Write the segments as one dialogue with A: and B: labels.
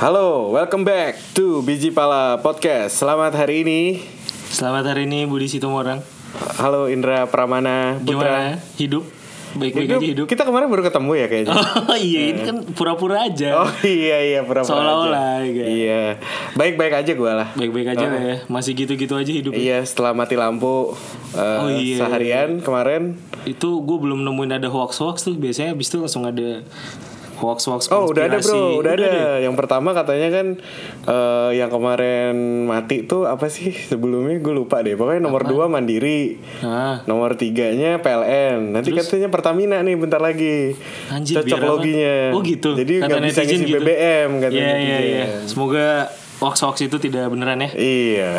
A: Halo, welcome back to Biji Pala Podcast. Selamat hari ini.
B: Selamat hari ini Budi Situmorang.
A: Halo Indra Pramana Putra.
B: Gimana hidup? Baik-baik
A: Hidup.
B: aja hidup.
A: Kita kemarin baru ketemu ya kayaknya.
B: Oh iya, ini kan pura-pura aja.
A: Oh iya iya pura-pura aja.
B: Seolah-olah, gitu.
A: Iya. Baik-baik aja gue lah.
B: Baik-baik
A: Oh.
B: aja lah ya. Masih gitu-gitu aja hidup.
A: Iya, setelah mati lampu eh,
B: Oh, iya.
A: seharian kemarin.
B: Itu gue belum nemuin ada hoax-hoax tuh. Biasanya abis itu langsung ada hoax-hoax
A: Oh, udah ada
B: konspirasi.
A: bro, udah, ada. Yang pertama katanya kan eh, yang kemarin mati tuh apa sih sebelumnya gue lupa deh. Pokoknya nomor dua mandiri.
B: Nah,
A: Nomor tiganya PLN. Nanti katanya Pertamina nih bentar lagi.
B: anjir
A: Cocok
B: biar apa?
A: loginya.
B: Oh gitu.
A: Jadi nggak bisa
B: netizen
A: ngisi BBM kata
B: Iya, iya,
A: netizen.
B: iya. Semoga hoax-hoax itu tidak beneran ya.
A: Iya.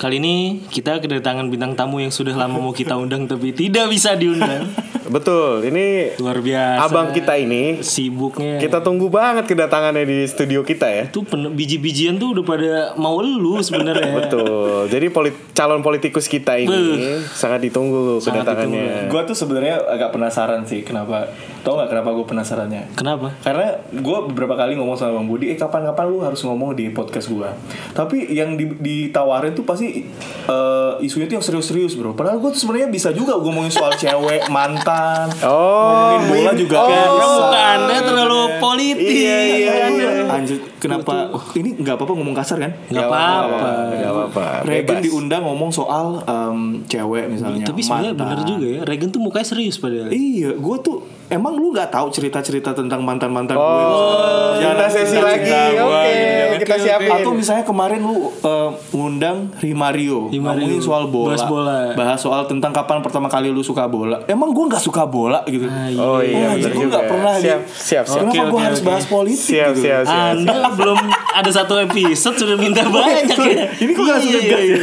B: Kali ini kita kedatangan bintang tamu yang sudah lama mau kita undang tapi tidak bisa diundang.
A: Betul. Ini
B: Luar biasa.
A: abang kita ini
B: sibuknya.
A: kita tunggu banget kedatangannya di studio kita ya.
B: tuh pen- biji-bijian tuh udah pada mau lu sebenarnya.
A: Betul. Jadi polit- calon politikus kita ini sangat ditunggu kedatangannya.
C: Gue tuh sebenarnya agak penasaran sih kenapa. Tau nggak kenapa gue penasarannya?
B: Kenapa?
C: Karena gue beberapa kali ngomong sama Bang Budi, eh kapan-kapan lu harus ngomong di podcast gue. Tapi yang di- ditawarin tuh pasti eh, isunya tuh yang serius-serius bro. Padahal gue tuh sebenarnya bisa juga gue ngomongin soal cewek, mantan,
A: Oh,
C: ngomongin bola juga
A: oh.
C: kan.
B: Karena muka anda terlalu politik.
A: Iya, iya, iya.
C: Anjir, kenapa? Oh, ini nggak apa-apa ngomong kasar kan?
B: Gak apa-apa.
A: Gak apa-apa.
C: Regen
A: Bebas.
C: diundang ngomong soal em, cewek misalnya.
B: Tapi sebenarnya
C: mantan.
B: bener juga ya. Regen tuh mukanya serius padahal.
C: Iya, gue tuh emang lu nggak tahu cerita-cerita tentang mantan-mantan gue.
A: Oh,
C: Misalnya
A: kita sesi
C: cinta-cinta
A: lagi.
C: gue,
A: Oke,
C: gitu-gitu.
A: kita siapin.
C: gitu, Atau misalnya kemarin lu eh, ngundang Rimario,
B: Rimario.
C: ngomongin soal bola.
B: Bahas bola.
C: Bahas soal tentang kapan pertama kali lu suka bola. Emang gue nggak suka bola gitu.
B: Ah, iya.
A: Oh iya, bener
C: anjir, gua
A: juga.
C: nggak pernah
A: siap,
C: di-
A: siap, siap.
C: Kenapa
B: Oke,
C: gue
B: oke,
C: harus
B: oke.
C: bahas politik
A: Siap,
C: gitu?
A: siap, siap.
B: Anda belum ada satu episode sudah minta banyak ya. iya.
C: Ini kok langsung ngegas ya?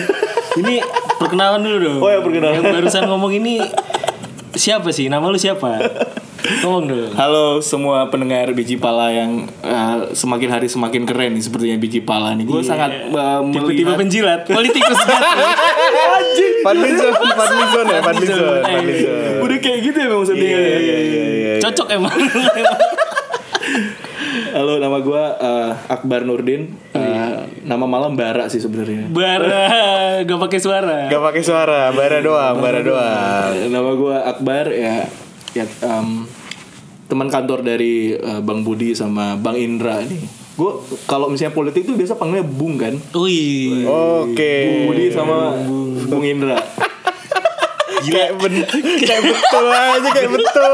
B: Ini perkenalan dulu dong.
A: iya,
C: Oh, ya, perkenalan.
B: Yang barusan ngomong ini siapa sih? Nama lu siapa? Ngomong dong.
C: Halo semua pendengar biji pala yang eh, semakin hari semakin keren nih sepertinya biji pala nih.
A: Iya.
C: Gue sangat eh,
B: Tiba-tiba
C: melihat
B: penjilat, politikus banget.
A: Padlizon, Padlizon ya, Padlizon,
B: Iya,
A: Padlizon.
C: Udah kayak gitu ya maksudnya.
B: Cocok emang.
C: Halo, nama gue Akbar Nurdin.
A: Oh,
C: Eh,
A: iya.
C: nama malam Bara sih sebenarnya.
B: Bara gak pakai suara.
A: Gak pakai suara, bara doang, bara doang.
C: Eh, nama gue Akbar ya. ya em, teman kantor dari eh, Bang Budi sama Bang Indra nih. Gue kalau misalnya politik tuh biasa panggilnya Bung kan.
B: Wih,
A: Oke.
C: Budi sama Bung Indra.
A: Kayak ben- kayak betul aja, kayak betul.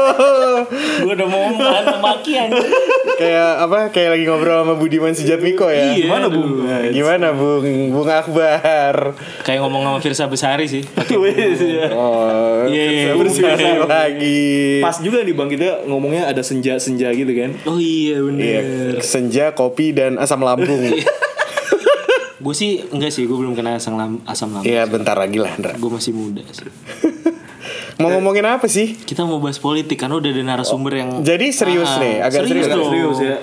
B: gue udah mau makan makian.
A: Kayak apa? Kayak lagi ngobrol sama Budiman Sujatmiko ya.
B: Iya,
C: Gimana Bung?
A: Gimana Bung Bung Akbar?
B: Kayak ngomong sama Firsa Besari sih.
C: Wes, ya.
A: Oh,
B: Iya, iya,
A: bersih lagi.
C: Pas juga nih Bang kita ngomongnya ada senja-senja gitu kan.
B: Oh
A: Iya,
B: iya bener.
A: senja, kopi dan asam lambung.
B: Iya. Gue sih enggak sih, gue belum kena asam lam- asam lambung.
A: Iya, bentar lagi lah, Ndra.
B: Gue masih muda sih.
A: Mau ngomongin apa sih?
B: Kita mau bahas politik karena udah ada narasumber yang
A: Jadi serius
B: Ah,
A: nih, agak serius.
B: dong.
C: Serius ya.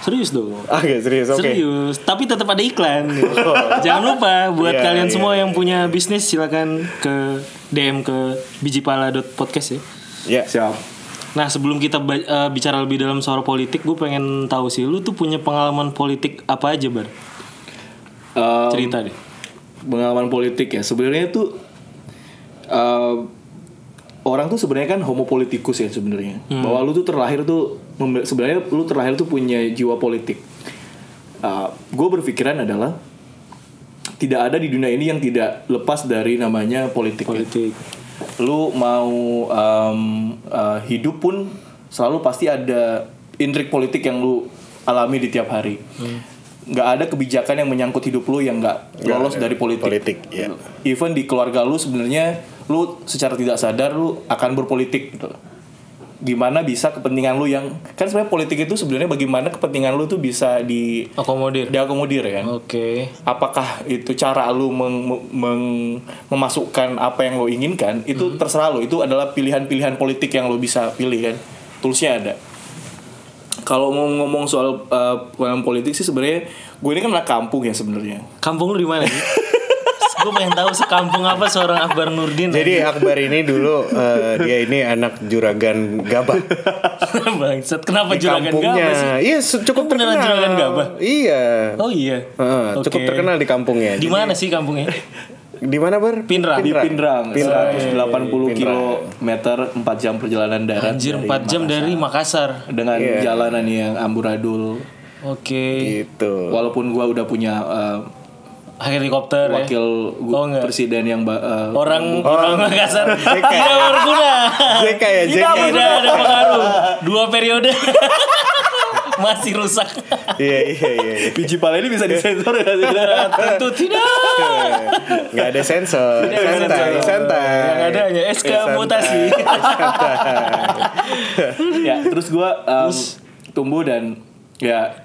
B: Serius dong.
A: Agak Ah, serius, oke. Oh.
B: Serius, tapi tetap ada iklan. Jangan lupa buat
A: Iya,
B: kalian
A: iya.
B: semua yang punya bisnis silakan ke DM ke bijipala.podcast ya.
A: Ya.
C: Siap.
B: Nah sebelum kita ba- eh, bicara lebih dalam soal politik, gue pengen tahu sih lu tuh punya pengalaman politik apa aja bar?
C: Eh,
B: Cerita deh.
C: pengalaman politik ya sebenarnya itu eh, orang tuh sebenarnya kan homo politikus ya sebenarnya bahwa lu tuh terlahir tuh membe- sebenarnya lu terlahir tuh punya jiwa politik gue berpikiran adalah tidak ada di dunia ini yang tidak lepas dari namanya politik, ya.
B: Politik.
C: lu mau em, eh, hidup pun selalu pasti ada intrik politik yang lu alami di tiap hari nggak ada kebijakan yang menyangkut hidup lu yang nggak lolos dari politik
A: Politik, ya.
C: even di keluarga lu sebenarnya lu secara tidak sadar lu akan berpolitik gitu loh. Gimana bisa kepentingan lu yang kan sebenarnya politik itu sebenarnya bagaimana kepentingan lu tuh bisa di
B: Akomodir.
C: diakomodir kan.
B: Oke.
C: Apakah itu cara lu meng- meng- memasukkan apa yang lu inginkan
B: Hmm.
C: itu terserah lu itu adalah pilihan-pilihan politik yang lu bisa pilih kan. Toolsnya ada. Kalau mau ngomong soal eh, uh, politik sih sebenarnya gue ini kan anak kampung ya sebenarnya.
B: Kampung lu di mana? gue pengen tahu sekampung apa seorang Akbar Nurdin.
A: Jadi Akbar ini dulu eh, dia ini anak juragan gabah
B: bangsat, kenapa
A: di
B: juragan
A: kampungnya.
B: gabah sih?
A: Iya, se- cukup
B: Beneran
A: terkenal.
B: juragan gabah?
A: Iya.
B: Oh iya.
A: Heeh, cukup
B: Oke.
A: terkenal di kampungnya.
B: Di mana sih kampungnya?
A: Di mana Bar?
B: Pinrang.
C: di Pindrang,
A: Pinrang.
B: Iya,
C: 180 kilometer 4 jam perjalanan darat
B: Anjir Iya.
C: dari
B: 4 jam dari Makassar.
C: dengan jalanan yang amburadul.
B: Oke.
A: Gitu.
C: Walaupun gua udah punya eh,
B: Helikopter ya.
C: wakil gu-
B: Oh, enggak.
C: presiden yang ba- eh,
B: Orang orang Makassar
A: JK.
B: tidak berguna.
A: JK ya,
B: Tidak
A: JK.
B: berguna, ada pengaruh. Dua periode masih rusak.
A: Iya, iya, iya.
C: biji pala ini bisa disensor ya
B: Tentu tidak.
A: Gak ada sensor. Santai, santai. Iya,
B: Yang ada hanya SK
A: Santai.
B: mutasi.
C: ya terus gue tumbuh dan ya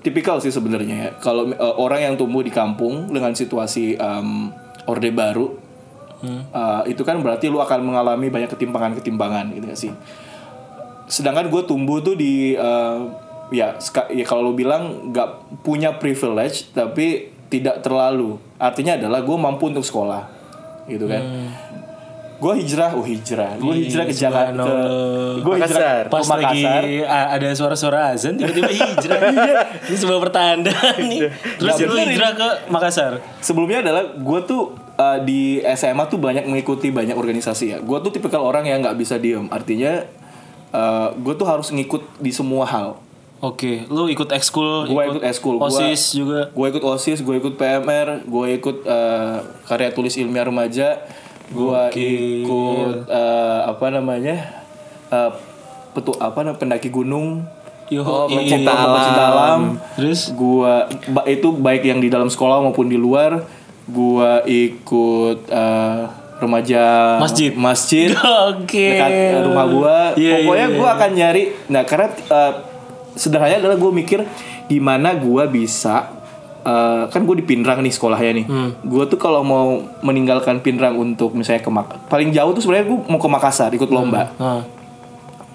C: tipikal sih sebenarnya ya kalau eh, orang yang tumbuh di kampung dengan situasi em, orde baru eh, itu kan berarti lu akan mengalami banyak ketimpangan-ketimpangan gitu gak sih sedangkan gue tumbuh tuh di eh, ya ska- ya kalau lu bilang nggak punya privilege tapi tidak terlalu artinya adalah gue mampu untuk sekolah gitu kan gue hijrah oh hijrah gue hijrah ke Jakarta
B: subhanallah.
C: gue hijrah
A: Makassar.
C: ke
B: Pas lagi
C: Makassar
B: ah, ada suara-suara azan tiba-tiba hijrah. Ini sebuah pertanda nih. Terus
C: Nggak
B: lu
C: bener
B: hijrah ke Makassar.
C: sebelumnya adalah gue tuh uh, di SMA tuh banyak mengikuti banyak organisasi ya gue tuh tipikal orang yang nggak bisa diem artinya gue tuh harus ngikut di semua hal
B: Oke, lu ikut ekskul,
C: gue ikut eskul gua-
B: OSIS juga.
C: gue ikut osis gue ikut PMR gue ikut eh, karya tulis ilmiah remaja gue ikut eh, apa namanya eh, petu apa namanya pendaki gunung
B: Yo, iya.
C: Oh,
B: i-
C: pencinta alam. Pencinta alam.
B: Terus?
C: Gua ba- itu baik yang di dalam sekolah maupun di luar. Gua ikut eh, remaja
B: Masjid.
C: masjid
B: Oke.
C: dekat eh, rumah gua.
B: Iya,
C: Pokoknya
B: iya,
C: gua akan nyari. Nah, karena eh, sederhananya adalah gua mikir gimana gua bisa eh, kan gue di Pinrang nih sekolahnya nih.
B: Hmm.
C: Gua tuh kalau mau meninggalkan Pinrang untuk misalnya ke Mak paling jauh tuh sebenarnya gua mau ke Makassar ikut lomba.
B: Nah,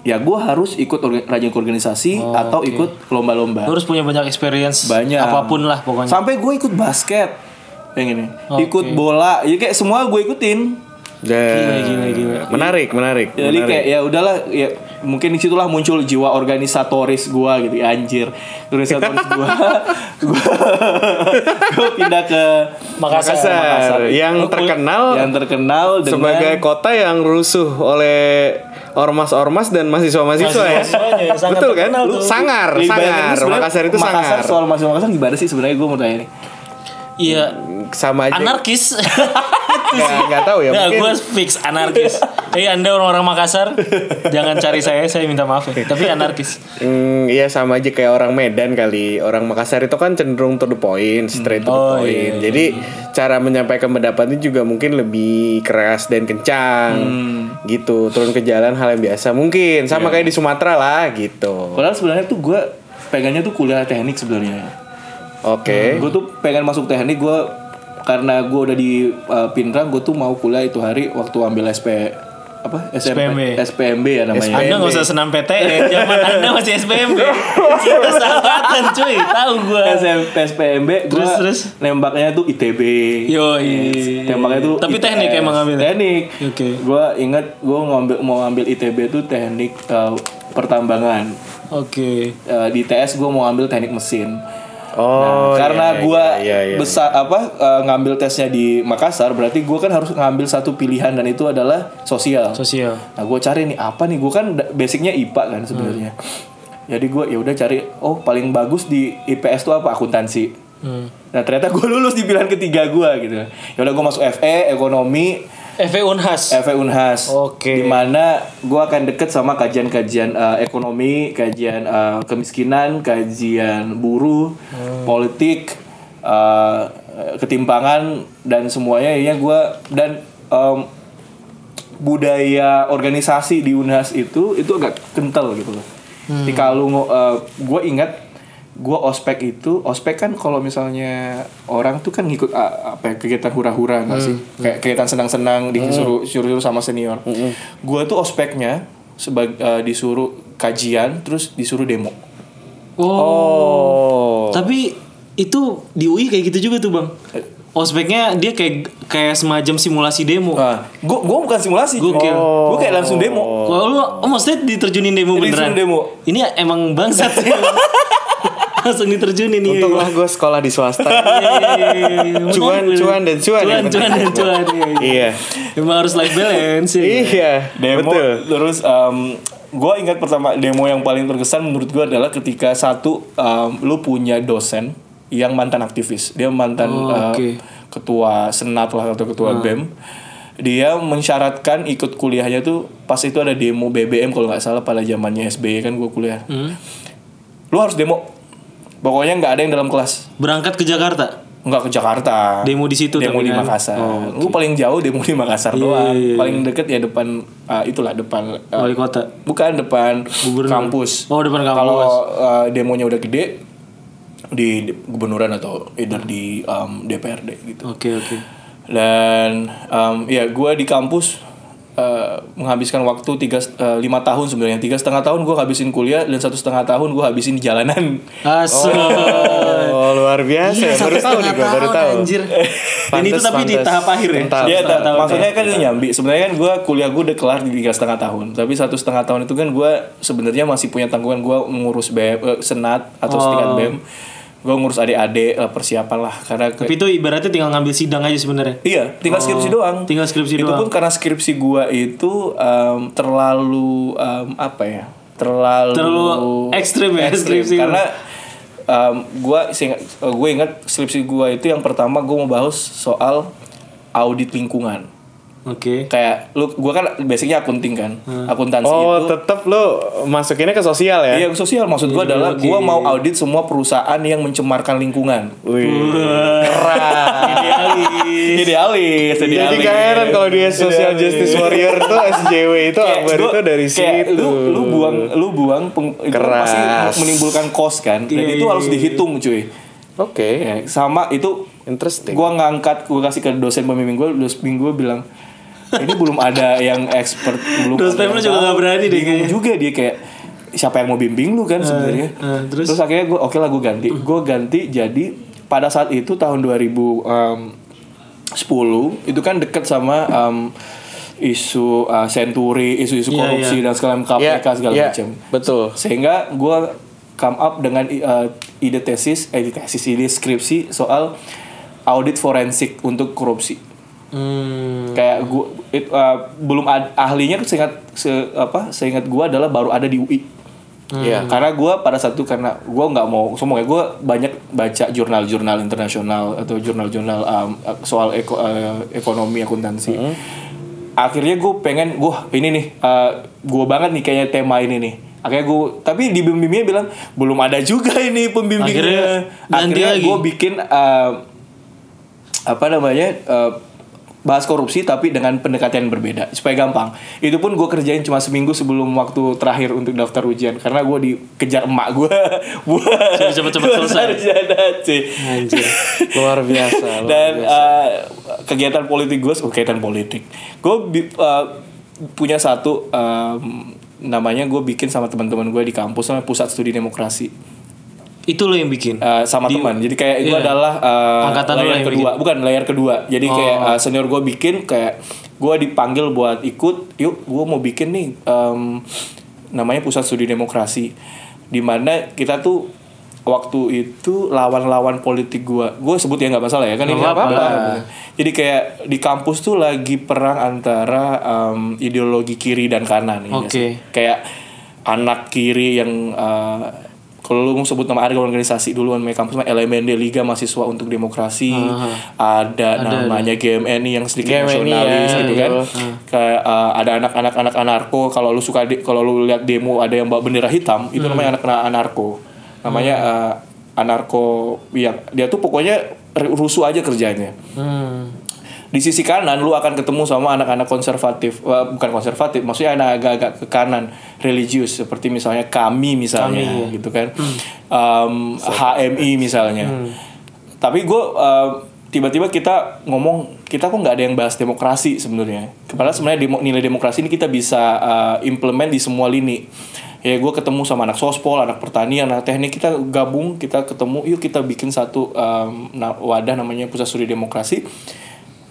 C: Ya gua harus ikut orga- rajin ke organisasi
B: Oh,
C: atau
B: lu
C: ikut lomba-lomba.
B: harus punya banyak experience
C: Banyak.
B: apapun lah pokoknya.
C: Sampai gue ikut basket. Yang ini.
B: Oke.
C: Ikut bola. Ya kayak semua gue ikutin.
A: Gila, gila, gila. Menarik, menarik.
C: Jadi
A: menarik.
C: kayak ya udahlah ya mungkin disitulah muncul jiwa organisatoris gua gitu ya, anjir organisatoris gua gua gua pindah ke
B: Makassar.
A: Makassar,
C: Makassar.
A: yang terkenal
C: yang terkenal dengan
A: sebagai kota yang rusuh oleh ormas-ormas dan mahasiswa-mahasiswa ya.
B: Mahasiswa-mahasiswanya yang sangat
A: Betul kan?
B: terkenal
A: Lu
B: tuh.
A: sangar,
C: Nih, bayangin
A: sangar.
C: ini sebenarnya
A: Makassar itu
C: Makassar
A: sangar.
C: soal mahasiswa Makassar gimana sih sebenarnya gua mau tanya nih
B: Iya,
A: Sama aja.
B: anarkis.
A: Ya, nggak tahu ya.
B: Nah,
A: mungkin
B: gue fix anarkis. Eh, anda orang-orang Makassar, jangan cari saya, saya minta maaf ya. Tapi anarkis.
A: Hmm, iya sama aja kayak orang Medan kali. Orang Makassar itu kan cenderung to the point, straight to the
B: Oh,
A: point.
B: iya, iya,
A: Jadi cara menyampaikan pendapatnya juga mungkin lebih keras dan kencang.
B: Hmm.
A: Gitu, turun ke jalan hal yang biasa mungkin.
B: Iya.
A: Sama kayak di Sumatera lah gitu.
C: padahal sebenarnya tuh gua pegannya tuh kuliah teknik sebenarnya
B: Eh.
A: Oke.
B: Hmm.
C: Gue tuh pengen masuk teknik gue karena gue udah di uh, Pinrang gue tuh mau kuliah itu hari waktu ambil SP apa
B: SPMB.
C: SMP SPMB ya namanya.
B: Anda nggak usah senam PTN, zaman Anda masih SPMB. Kita sahabatan cuy, tahu gue.
C: SMP SPMB gue
B: Terus, terus?
C: nembaknya tuh ITB.
B: Yo,
C: Tembaknya tuh
B: Tapi teknik
C: ITS.
B: emang ngambil. ya?
C: Teknik.
B: Oke.
C: Gue inget gue ngambil mau ambil ITB tuh teknik uh, pertambangan.
B: Oke.
C: Uh, di ITS gue mau ambil teknik mesin.
A: Oh, iya,
C: karena
A: iya,
C: gua
A: iya, iya, iya.
C: besar apa eh, ngambil tesnya di Makassar berarti gua kan harus ngambil satu pilihan dan itu adalah sosial.
B: Sosial.
C: Nah gue cari nih apa nih gue kan da- basicnya IPA kan sebenarnya.
A: Hmm.
C: Jadi gue ya udah cari oh paling bagus di IPS tuh apa akuntansi.
B: Hmm.
C: Nah ternyata gue lulus di pilihan ketiga gue gitu. Ya udah gue masuk FE ekonomi
B: FE Unhas.
C: FE Unhas.
B: Oke.
C: Dimana gue akan deket sama kajian-kajian eh, ekonomi, kajian eh, kemiskinan, kajian buruh,
B: Hmm.
C: politik, eh, ketimpangan dan semuanya. Ya gue dan em, budaya organisasi di Unhas itu itu agak kental gitu loh.
B: Hmm.
C: Ketika lu ngo- eh, gua ingat gua ospek itu ospek kan kalau misalnya orang tuh kan ngikut ah, apa ya, kegiatan hura-hura nggak sih kayak kegiatan senang-senang disuruh suruh sama senior. Gua tuh ospeknya eh, sebagai disuruh kajian terus disuruh demo.
B: Oh.
A: Oh. Eh.
B: Tapi itu di UI kayak gitu juga tuh bang ospeknya dia kayak kayak semacam simulasi demo
A: Oh.
C: Ah, gua gua bukan simulasi.
B: Gokil.
C: Gua kayak langsung demo.
B: Kalau lu oh, maksudnya diterjunin demo beneran?
C: Diterjunin demo.
B: Ini emang bangsat sih.
A: Iya.
B: Langsung diterjunin iya, nih.
A: Untunglah gue sekolah di swasta.
B: iya,
A: Cuan, cuan, dan cuan ya. yang
B: Cuan,
A: penting.
B: cuan dan cuan. iya, iya.
A: iya.
B: Emang harus life balance. ya.
A: Iya,
C: Demo.
A: betul.
C: Terus em gua ingat pertama demo yang paling berkesan menurut gua adalah ketika satu em, lu punya dosen yang mantan aktivis. Dia mantan
B: Oh,
C: eh,
B: oke. Hmm.
C: ketua senat lah atau ketua BEM. Dia mensyaratkan ikut kuliahnya tuh pas itu ada demo BBM kalau nggak salah pada zamannya SBY kan gua kuliah.
B: Hmm.
C: Lu harus demo. Pokoknya nggak ada yang dalam kelas.
B: Berangkat ke Jakarta.
C: Enggak ke Jakarta.
B: Demo di situ
C: Demo
B: tapi
C: di
B: kan?
C: Makassar.
B: Oh,
C: Lu paling jauh demo di Makassar
B: Iya, iya,
C: doang.
B: iya.
C: Paling deket ya depan ah, itulah depan ah,
B: Wali kota.
C: bukan depan
B: Gubernur.
C: kampus.
B: Oh, depan kampus.
C: Kalau ah, demonya udah gede di di- gubernuran atau either di um, DPRD gitu.
B: Oke oke.
C: Dan um, ya gue di kampus uh, menghabiskan waktu tiga uh, lima tahun sebenarnya tiga setengah tahun gue habisin kuliah dan satu setengah tahun gue habisin di jalanan.
B: Aso.
A: Oh, luar biasa.
B: Iya,
A: ya. baru tahu nih gue, baru tahu.
B: Anjir. Dan itu
A: Pantes,
B: tapi di
A: pantes.
B: tahap akhir ya.
A: Entar.
C: Iya,
B: Setengah
C: ta-
B: tahun.
C: maksudnya kan ini nyambi. Sebenarnya kan gue kuliah gue udah kelar di tiga setengah tahun. Tapi satu setengah tahun itu kan gue sebenarnya masih punya tanggungan gue mengurus BEM, eh, senat
B: Oh.
C: atau setingkat BEM. Gue ngurus adik-adik eh, persiapan lah karena ke-
B: Tapi itu ibaratnya tinggal ngambil sidang aja sebenarnya.
C: Iya, tinggal skripsi doang.
B: Tinggal skripsi
C: itu
B: doang.
C: pun karena skripsi gue itu em, terlalu em, apa ya? Terlalu
B: Terlalu ekstrim ya
C: ekstrim.
B: skripsi lu.
C: karena gue gue eh, ingat skripsi gue itu yang pertama gue mau bahas soal audit lingkungan
B: Oke.
C: kayak lu gua kan basicnya akunting kan akuntansi
A: Oh,
C: itu
A: tetap lu masukinnya ke sosial ya?
C: Iya sosial maksud gua adalah gua mau audit semua perusahaan yang mencemarkan lingkungan.
A: Wih.
C: Idealis. Idealis,
A: Jadi gak heran kalau dia
C: iya,
A: social justice warrior tuh SJW itu Akbar itu dari
C: Kayak
A: situ.
C: Lu, lu buang lu buang peng- itu kan
A: Keras.
C: pasti menimbulkan cost kan. Dan
B: Iya,
C: itu
B: iya,
C: harus
B: iya.
C: dihitung cuy.
A: Oke,
C: Ya, sama itu
A: interesting.
C: gua ngangkat gua kasih ke dosen pembimbing gua, dosen pembimbing gua bilang ini belum ada yang expert belum
B: Dosen
C: ada
B: pembimbing
C: yang
B: juga
C: tahu."
B: nggak berani deh
C: Bingung
B: kayaknya.
C: juga dia kayak siapa yang mau bimbing lu kan sebenarnya
B: eh, terus? Hmm.
C: terus? akhirnya gue oke lah gue ganti gue ganti jadi pada saat itu tahun 2010 itu kan deket sama em, isu eh, senturi isu-isu
B: Iya,
C: korupsi dan segala macam
A: Iya,
C: KPK segala
A: iya,
C: macam
A: Betul.
C: sehingga gue come up dengan uh, ide tesis, eh, ide tesis, ide skripsi soal audit forensik untuk korupsi.
B: Hmm.
C: Kayak gue belum ad- ahlinya seingat se, apa seingat gue adalah baru ada di UI.
A: Iya.
C: Karena gue pada satu karena gue nggak mau sombong ya gue banyak baca jurnal-jurnal internasional atau jurnal-jurnal um, soal eko- uh, ekonomi akuntansi.
B: Hmm.
C: Akhirnya gue pengen wah ini nih gue banget nih kayaknya tema ini nih. Akhirnya gue tapi di pembimbingnya bilang belum ada juga ini pembimbingnya.
B: Akhirnya ganti lagi.
C: gue bikin uh, apa namanya uh, bahas korupsi tapi dengan pendekatan yang berbeda supaya gampang itu pun gue kerjain cuma seminggu sebelum waktu terakhir untuk daftar ujian karena gue dikejar emak gue buat
B: Suruh cepet-cepet
C: buat
B: selesai.
C: sarjana, cuy.
B: Anjir.
A: Luar biasa. luar
C: dan
A: biasa.
C: uh, kegiatan politik gue oh, kegiatan politik gue punya satu um, namanya gue bikin sama teman-teman gue di kampus sama pusat studi demokrasi
B: Itu lo yang bikin.
A: Iya,
C: Uh, sama teman. Jadi kayak itu
B: iya.
C: adalah uh,
B: Angkatan lu
C: layar
B: yang Oh.
C: kedua, bukan layar kedua. Jadi kayak uh, senior gue bikin kayak gue dipanggil buat ikut, yuk gue mau bikin nih um, namanya pusat studi demokrasi, dimana kita tuh waktu itu lawan-lawan politik gue, gue sebut ya nggak masalah ya kan ini apa-apa. Jadi kayak di kampus tuh lagi perang antara um, ideologi kiri dan kanan. ini
B: Oke.
C: sih kayak anak kiri yang uh, kalau lu mau sebut nama ada organisasi duluan mereka kampus mah LMND Liga Mahasiswa untuk Demokrasi ada, namanya GMNI yang
A: GMNI,
C: sedikit nasionalis
A: ya,
C: gitu kan kayak uh, ada anak-anak anak anarko kalau lu suka di- kalau lu lihat demo ada yang bawa bendera hitam itu namanya anak-anak anarko namanya uh, anarko yang dia tuh pokoknya rusuh aja kerjanya
B: Hmm.
C: di sisi kanan lu akan ketemu sama anak-anak konservatif Wah, bukan konservatif maksudnya anak agak-agak ke kanan religius seperti misalnya kami misalnya gitu kan Em, HMI misalnya tapi gue tiba-tiba kita ngomong kita kok nggak ada yang bahas demokrasi sebenarnya padahal sebenarnya demo- nilai demokrasi ini kita bisa eh, implement di semua lini ya gue ketemu sama anak sospol anak pertanian anak teknik kita gabung kita ketemu yuk kita bikin satu em, na- wadah namanya pusat studi demokrasi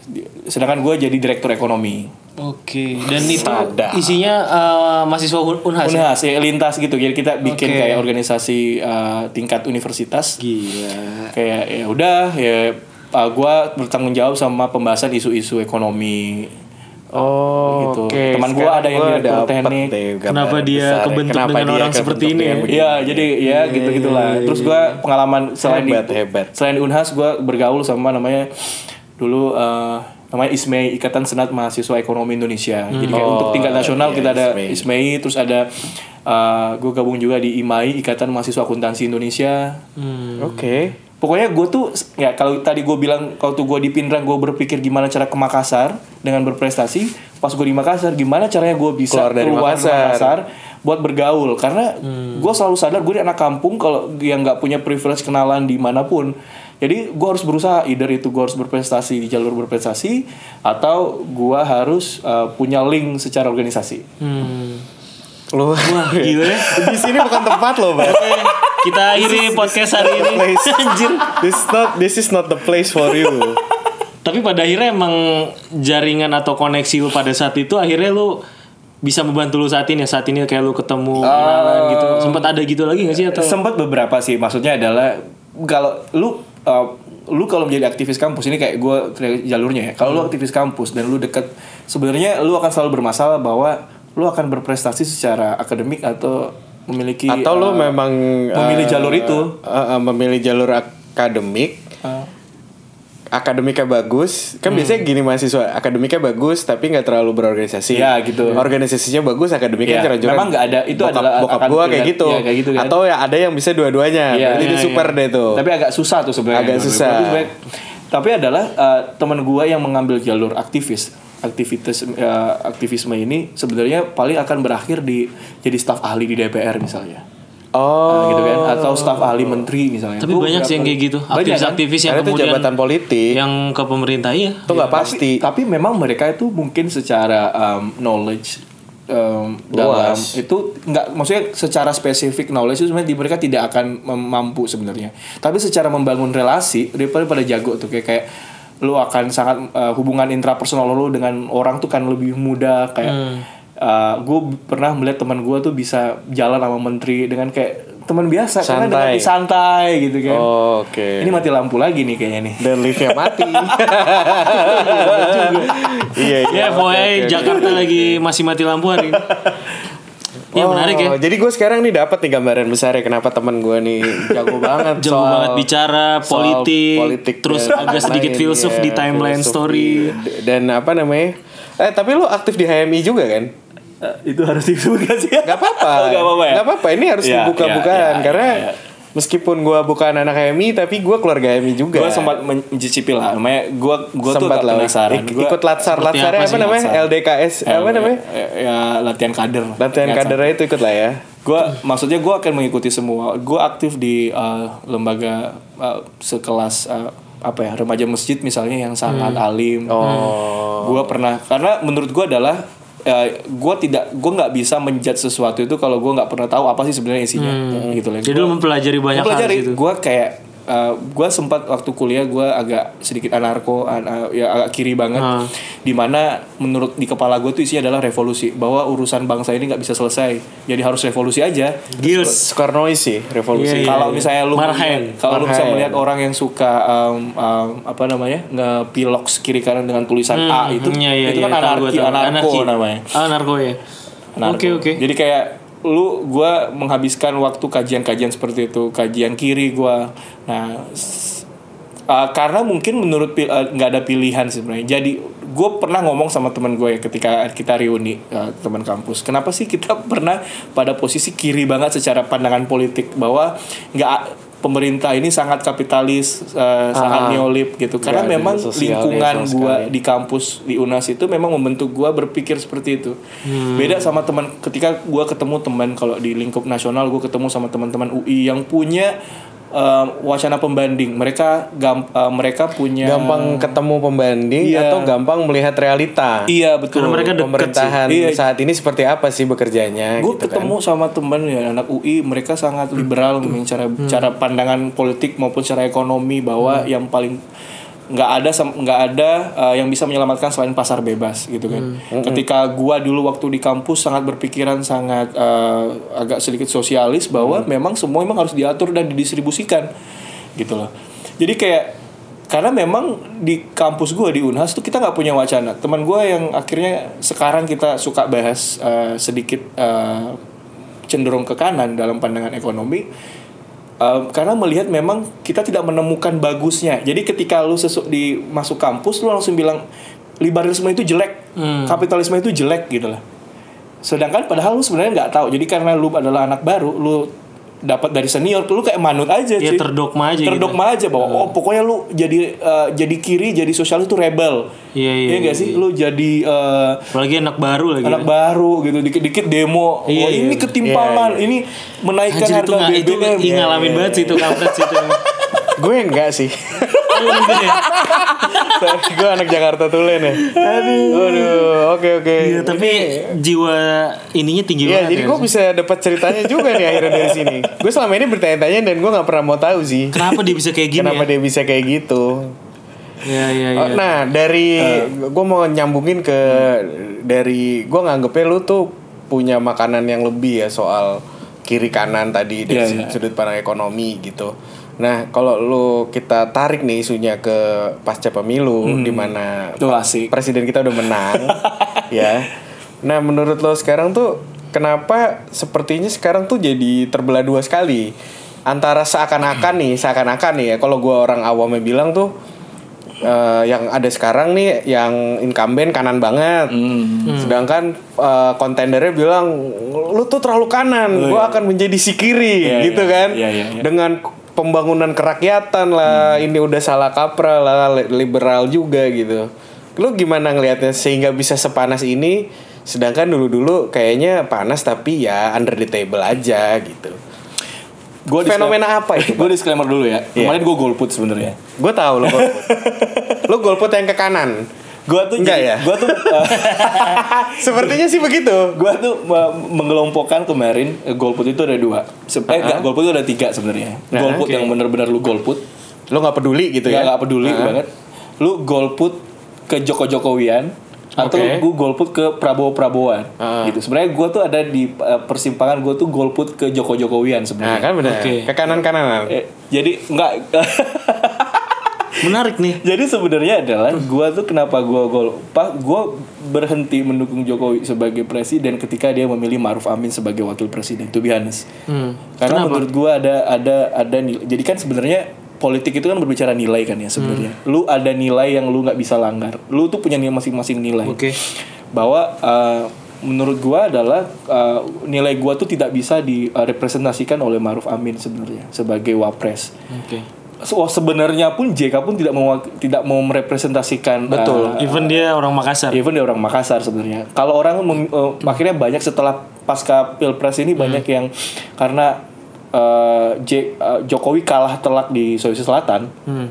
C: Di- sedangkan gue jadi direktur ekonomi
B: Oke, dan itu
A: Sadar.
B: isinya eh, mahasiswa Un- Unhas. ya?
C: Unhas ya, lintas gitu jadi kita bikin
B: Oke.
C: kayak organisasi eh, tingkat universitas
B: Gila.
C: kayak ya udah ya uh, gua bertanggung jawab sama pembahasan isu-isu ekonomi
A: Oh,
C: Gitu.
A: oke.
C: Teman gua
A: Sekarang
C: ada yang
A: gua
C: direktur
A: dapet
C: teknik.
A: deh gambaran
B: Kenapa dia
A: besar ya.
B: kebentuk
A: Kenapa
B: dengan
A: dia
B: orang seperti
A: kebentuk
B: ini
A: dengan
B: ya?
A: begini.
C: Iya, jadi ya gitu gitulah. Terus gua pengalaman selain
A: Hebat,
C: di,
A: hebat.
C: selain di Unhas gua bergaul sama namanya dulu eh, namanya ISMEI Ikatan Senat Mahasiswa Ekonomi Indonesia. Jadi kayak untuk tingkat nasional kita ada ISMEI, terus ada eh, gua gabung juga di IMAI Ikatan Mahasiswa Akuntansi Indonesia.
B: Hmm,
C: Iya.
A: Oke.
C: Pokoknya gue tuh ya kalau tadi gue bilang kalau tuh gue di Pindrang gue berpikir gimana cara ke Makassar dengan berprestasi. Pas gue di Makassar gimana caranya gue bisa
A: Keluar dari Makassar. Hmm.
C: buat bergaul karena gue selalu sadar gue di anak kampung kalau yang nggak punya privilege kenalan dimanapun. Jadi gue harus berusaha either itu gue harus berprestasi di jalur berprestasi atau gue harus uh, punya link secara organisasi.
B: Hmm.
A: Lu
B: Wah, gila. ya.
A: di sini bukan tempat lo, Bang.
B: Kita akhiri podcast hari ini.
A: Place. This not this is not the place for you.
B: Tapi pada akhirnya emang jaringan atau koneksi lu pada saat itu akhirnya lu bisa membantu lu saat ini ya saat ini kayak lu
A: Oh.
B: ketemu kenalan gitu sempat ada gitu lagi gak sih atau
C: sempat beberapa sih maksudnya adalah kalau lu uh, lu kalau menjadi aktivis kampus ini kayak gue jalurnya ya kalau lu aktivis kampus dan lu deket sebenarnya lu akan selalu bermasalah bahwa lu akan berprestasi secara akademik atau memiliki
A: Atau lo
C: uh,
A: memang
C: memilih
A: eh,
C: jalur itu.
A: eh, eh, memilih jalur akademik.
C: uh,
A: Akademiknya bagus,
C: Hmm.
A: kan biasanya gini mahasiswa akademiknya bagus tapi nggak terlalu berorganisasi.
C: Iya, gitu.
A: Organisasinya bagus, akademiknya
C: Iya,
A: cerah-cerah.
C: memang nggak ada, itu
A: bokap,
C: adalah
A: bokap
C: akan
A: gua
C: dilihat,
A: kayak gitu.
C: iya, kayak gitu kan.
A: Atau ya ada yang bisa dua-duanya.
C: Iya,
A: Berarti
C: iya,
A: dia super deh tuh.
C: Tapi agak susah tuh sebenarnya.
A: Agak
C: Tapi
A: susah.
C: sebenarnya- tapi adalah eh, teman gua yang mengambil jalur aktivis, aktivitas eh, aktivisme ini sebenarnya paling akan berakhir di jadi staf ahli di DPR misalnya.
A: oh,
C: Nah, gitu kan atau staf ahli menteri misalnya.
B: tapi
C: Gua
B: banyak sih yang kayak gitu
C: Banyak, kan?
B: aktivis-aktivis yang
A: karena itu
B: kemudian
A: jabatan politik.
B: yang ke pemerintah ya
A: itu nggak pasti.
C: Iya. Tapi memang mereka itu mungkin secara um, knowledge um, dalam
A: Luas.
C: itu nggak maksudnya secara spesifik knowledge itu sebenarnya di mereka tidak akan mem- mampu sebenarnya. Tapi secara membangun relasi daripada pada jago tuh kayak kayak lu akan sangat uh, hubungan intrapersonal lu dengan orang tuh kan lebih mudah kayak
B: Hmm.
C: gue pernah melihat teman gue tuh bisa jalan sama menteri dengan kayak teman biasa karena dengan
A: Santai.
C: santai gitu kan.
A: Oh, Oke.
C: Ini mati lampu lagi nih kayaknya nih.
A: Dan liftnya mati. iya iya.
B: ya
A: oke,
B: pokoknya
A: oke, oke.
B: Jakarta lagi masih mati lampu hari ini ya
A: Oh,
B: menarik ya
A: Jadi gue sekarang nih dapat nih gambaran besar ya kenapa teman gue nih jago banget.
B: jago
A: soal-
B: banget bicara
A: soal
B: politik,
A: politik
B: terus
A: dan
B: agak sedikit
A: lain-lain,
B: filsuf
A: iya,
B: di timeline
A: filosofi.
B: story
A: D- Dan apa namanya? Eh tapi lu aktif di HMI juga kan?
C: Eh, itu harus disebutkan sih.
A: Gak apa-apa.
C: Oh, Gak apa-apa ya.
A: Gak apa-apa. Ini harus
B: Iya,
C: Ya,
A: dibuka-bukaan
C: ya, ya,
A: karena
C: ya, ya.
A: meskipun gue bukan anak HMI tapi gue keluarga HMI juga.
C: Gue sempat men- mencicipi lah, namanya gue gue tuh
A: sempat
C: agak
A: lah
C: penasaran.
A: ik-
C: Gua-
A: ikut latsar
B: Seperti
A: latsarnya
B: apa
A: apa,
B: sih
A: namanya
B: latsar?
A: LDKS
C: eh,
A: apa namanya
C: eh, Ya, latihan kader.
A: latihan kadernya itu ikut lah ya
C: Gue maksudnya gue akan mengikuti semua. Gue aktif di eh, lembaga eh, sekelas eh, apa ya remaja masjid misalnya yang sangat alim.
A: Hmm. Oh.
C: Gue pernah karena menurut gue adalah gue tidak gue nggak bisa menjudge sesuatu itu kalau gue nggak pernah tahu apa sih sebenarnya isinya
A: Hmm.
C: gitu lah.
B: jadi
C: Gua-
B: lu mempelajari banyak hal
C: pelajari
B: gitu
C: gue kayak gue sempat waktu kuliah gue agak sedikit anarko an- uh, ya agak kiri banget
B: Ah.
C: dimana menurut di kepala gue tuh isinya adalah revolusi bahwa urusan bangsa ini nggak bisa selesai jadi harus revolusi aja
B: Gils
A: Soekarno sih revolusi
B: Iya,
C: kalau
B: iya.
C: misalnya lu
B: Marhaen.
C: melihat- kalau lu bisa melihat orang yang suka um, um, apa namanya ngepilox kiri kanan dengan tulisan A itu
B: Iya, iya,
C: itu
B: iya,
C: kan
B: tahu gua
C: anarki
B: tahu.
C: anarko
B: Anarki.
C: namanya Iya,
B: Ah, narko ya.
C: Narko.
B: Oke, oke.
C: Jadi kayak lu gua menghabiskan waktu kajian-kajian seperti itu, kajian kiri gua. Nah, s- uh, karena mungkin menurut pil- uh, nggak ada pilihan sebenarnya. Jadi gue pernah ngomong sama teman gue ya ketika kita reuni uh, teman kampus. Kenapa sih kita pernah pada posisi kiri banget secara pandangan politik bahwa nggak pemerintah ini sangat kapitalis, uh, sangat neolib gitu.
A: Ah,
C: Karena
A: ada
C: memang
A: sosialnya
C: lingkungan
A: sama
C: gua di kampus di Unas itu memang membentuk gua berpikir seperti itu.
A: Hmm.
C: Beda sama teman ketika gua ketemu teman kalau di lingkup nasional gua ketemu sama teman-teman UI yang punya eh, eh, wacana pembanding. Mereka gam- eh, mereka punya
A: gampang ketemu pembanding
C: Iya.
A: atau gampang melihat realita
C: Iya betul.
B: Karena mereka dekat
A: pemerintahan
C: sih. Iya.
A: saat ini seperti apa sih bekerjanya
C: gue
A: gitu kan.
C: ketemu sama teman ya anak UI mereka sangat liberal
B: Hmm.
C: nih cara cara pandangan politik maupun cara ekonomi
B: Hmm.
C: bahwa yang paling nggak ada sem- nggak ada uh, yang bisa menyelamatkan selain pasar bebas gitu kan
B: Hmm.
C: ketika gua dulu waktu di kampus sangat berpikiran sangat uh, agak sedikit sosialis
B: Hmm.
C: bahwa memang semua memang harus diatur dan didistribusikan gitu loh jadi kayak karena memang di kampus gue di Unhas tuh kita nggak punya wacana teman gue yang akhirnya sekarang kita suka bahas eh, sedikit eh, cenderung ke kanan dalam pandangan ekonomi eh, karena melihat memang kita tidak menemukan bagusnya jadi ketika lu sesu- di masuk kampus lu langsung bilang liberalisme itu jelek kapitalisme itu jelek gitu lah sedangkan padahal lu sebenarnya nggak tahu jadi karena lu adalah anak baru lu dapat dari senior lu kayak manut aja
B: Ya
C: cuy
B: terdogma aja gitu.
C: terdogma aja bahwa oh pokoknya lu jadi eh, jadi kiri jadi sosialis itu rebel
B: Iya, iya,
C: Iya nggak sih lu jadi eh,
B: Apalagi anak baru lagi.
C: anak baru gitu dikit-dikit demo
B: Iya,
C: oh
B: iya.
C: ini ketimpangan ini menaikkan
B: Anjir itu
C: harga
B: nggak itu
C: BBM
B: ih, ngalamin
C: Iya,
B: banget sih itu kampret sih itu.
A: gue enggak sih
B: Lu mungkin ya.
A: Sorry, gue anak Jakarta Tulen ya aduh aduh oke oke
B: Iya, tapi jiwa ininya tinggi
A: Iya,
B: banget.
A: jadi
B: ya.
A: gue bisa dapat ceritanya juga nih akhirnya dari sini. Gue selama ini bertanya-tanya dan gue nggak pernah mau tahu sih
B: Kenapa dia bisa kayak gini?
A: kenapa
B: ya?
A: dia bisa kayak gitu.
B: Iya, iya,
A: Oh,
B: iya.
A: Nah dari gue mau nyambungin ke dari gue nganggepnya lu tuh punya makanan yang lebih ya soal kiri kanan tadi dari
C: Iya, iya.
A: sudut pandang ekonomi gitu. Nah kalau lu kita tarik nih isunya ke pasca pemilu di mana
C: Itu asik.
A: presiden kita udah menang ya. Nah menurut lo sekarang tuh kenapa sepertinya sekarang tuh jadi terbelah dua sekali antara seakan-akan nih seakan-akan nih ya kalau gua orang awamnya bilang tuh eh, yang ada sekarang nih yang incumbent kanan banget sedangkan eh, kontendernya bilang lu tuh terlalu kanan gua akan menjadi si kiri
C: Iya,
A: gitu
C: iya.
A: kan
C: Iya, iya, Hmm. iya.
A: dengan pembangunan kerakyatan lah ini udah salah kaprah lah li- liberal juga gitu lu gimana ngelihatnya sehingga bisa sepanas ini sedangkan dulu-dulu kayaknya panas tapi ya under the table aja gitu
C: Gua disclaimer-
A: fenomena apa itu
C: gue disclaimer dulu ya
A: Iya.
C: kemarin gue golput sebenarnya
A: gue tahu lo golput lo golput yang ke kanan
C: gue tuh
A: Nggak
C: jadi-
A: ya?
C: gua tuh eh,
A: sepertinya sih begitu
C: Gua tuh me- mengelompokkan kemarin eh, golput itu ada dua. Se- eh, nggak, golput itu ada tiga sebenarnya.
A: Nah,
C: golput
A: oke.
C: yang benar-benar lu golput,
A: lo nggak peduli gitu ya
C: nggak nggak peduli banget. Lu golput ke Joko Jokowian atau
A: Oke.
C: gue golput ke Prabowo Prabowoan
A: Ah.
C: gitu. Sebenarnya gue tuh ada di eh, persimpangan gue tuh golput ke Joko
A: nah
C: Jokowian sebenarnya.
A: kan benar
B: Oke.
A: ke kanan kanan
C: Eh, jadi nggak.
B: Menarik nih.
C: Jadi sebenarnya adalah gua tuh kenapa gua gol Pak, gua berhenti mendukung Jokowi sebagai presiden ketika dia memilih Maruf Amin sebagai wakil presiden. To be honest.
B: Hmm,
C: Karena menurut gua ada ada ada nilai. Jadi kan sebenarnya politik itu kan berbicara nilai kan ya sebenarnya. Lu ada nilai yang lu nggak bisa langgar. Lu tuh punya nilai masing-masing nilai.
B: Oke.
C: Bahwa eh, menurut gua adalah eh, nilai gua tuh tidak bisa direpresentasikan oleh Maruf Amin sebenarnya sebagai wapres.
B: Oke.
C: So, sebenarnya pun JK pun tidak mau tidak mau merepresentasikan
A: Betul.
C: uh,
B: Even dia orang Makassar.
C: even dia orang Makassar sebenarnya. Kalau orang mem- uh, akhirnya banyak setelah pasca Pilpres ini banyak yang karena uh, J- uh, Jokowi kalah telak di Sulawesi Selatan. uh,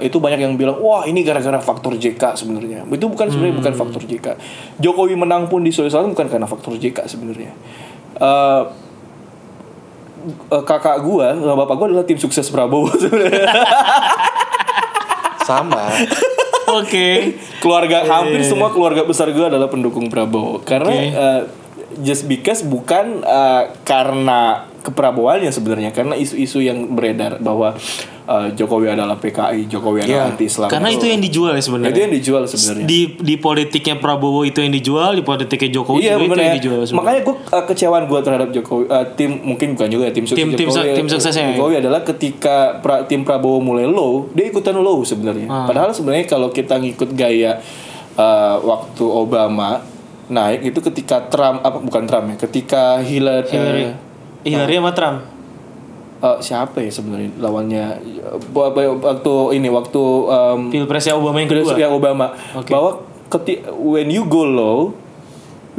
C: itu banyak yang bilang wah ini gara-gara faktor JK sebenarnya itu bukan sebenarnya bukan faktor JK Jokowi menang pun di Sulawesi Selatan bukan karena faktor JK sebenarnya Uh, uh, kakak gua sama bapak gua adalah tim sukses Prabowo sebenarnya
A: sama
B: Oke.
C: keluarga
B: Iya,
C: hampir semua keluarga besar gue adalah pendukung Prabowo karena eh, just because bukan eh, karena keprabowannya sebenarnya karena isu-isu yang beredar bahwa eh, Jokowi adalah PKI Jokowi adalah anti Islam
B: Iya. Karena itu yang dijual ya sebenarnya.
C: itu yang dijual sebenarnya
B: di di politiknya Prabowo itu yang dijual, di politiknya Jokowi juga
C: Iya
B: Oh, itu
C: bener
B: yang
C: ya.
B: dijual sebenarnya.
C: Makanya gue kecewaan gue terhadap Jokowi eh, tim mungkin bukan juga ya tim sukses
B: Tim- tim
C: Jokowi.
B: su- tim suksesnya.
C: Jokowi adalah ketika pra- tim Prabowo mulai low, dia ikutan low sebenarnya.
B: Ah.
C: Padahal sebenarnya kalau kita ngikut gaya eh, waktu Obama naik itu ketika Trump apa bukan Trump ya, ketika Hillary,
B: Hillary,
C: eh,
B: Hillary sama Trump.
C: eh, siapa ya sebenarnya lawannya Eh, waktu ini waktu em,
B: Pilpresnya Obama yang kedua.
C: Presiden Obama bahwa keti- when you go low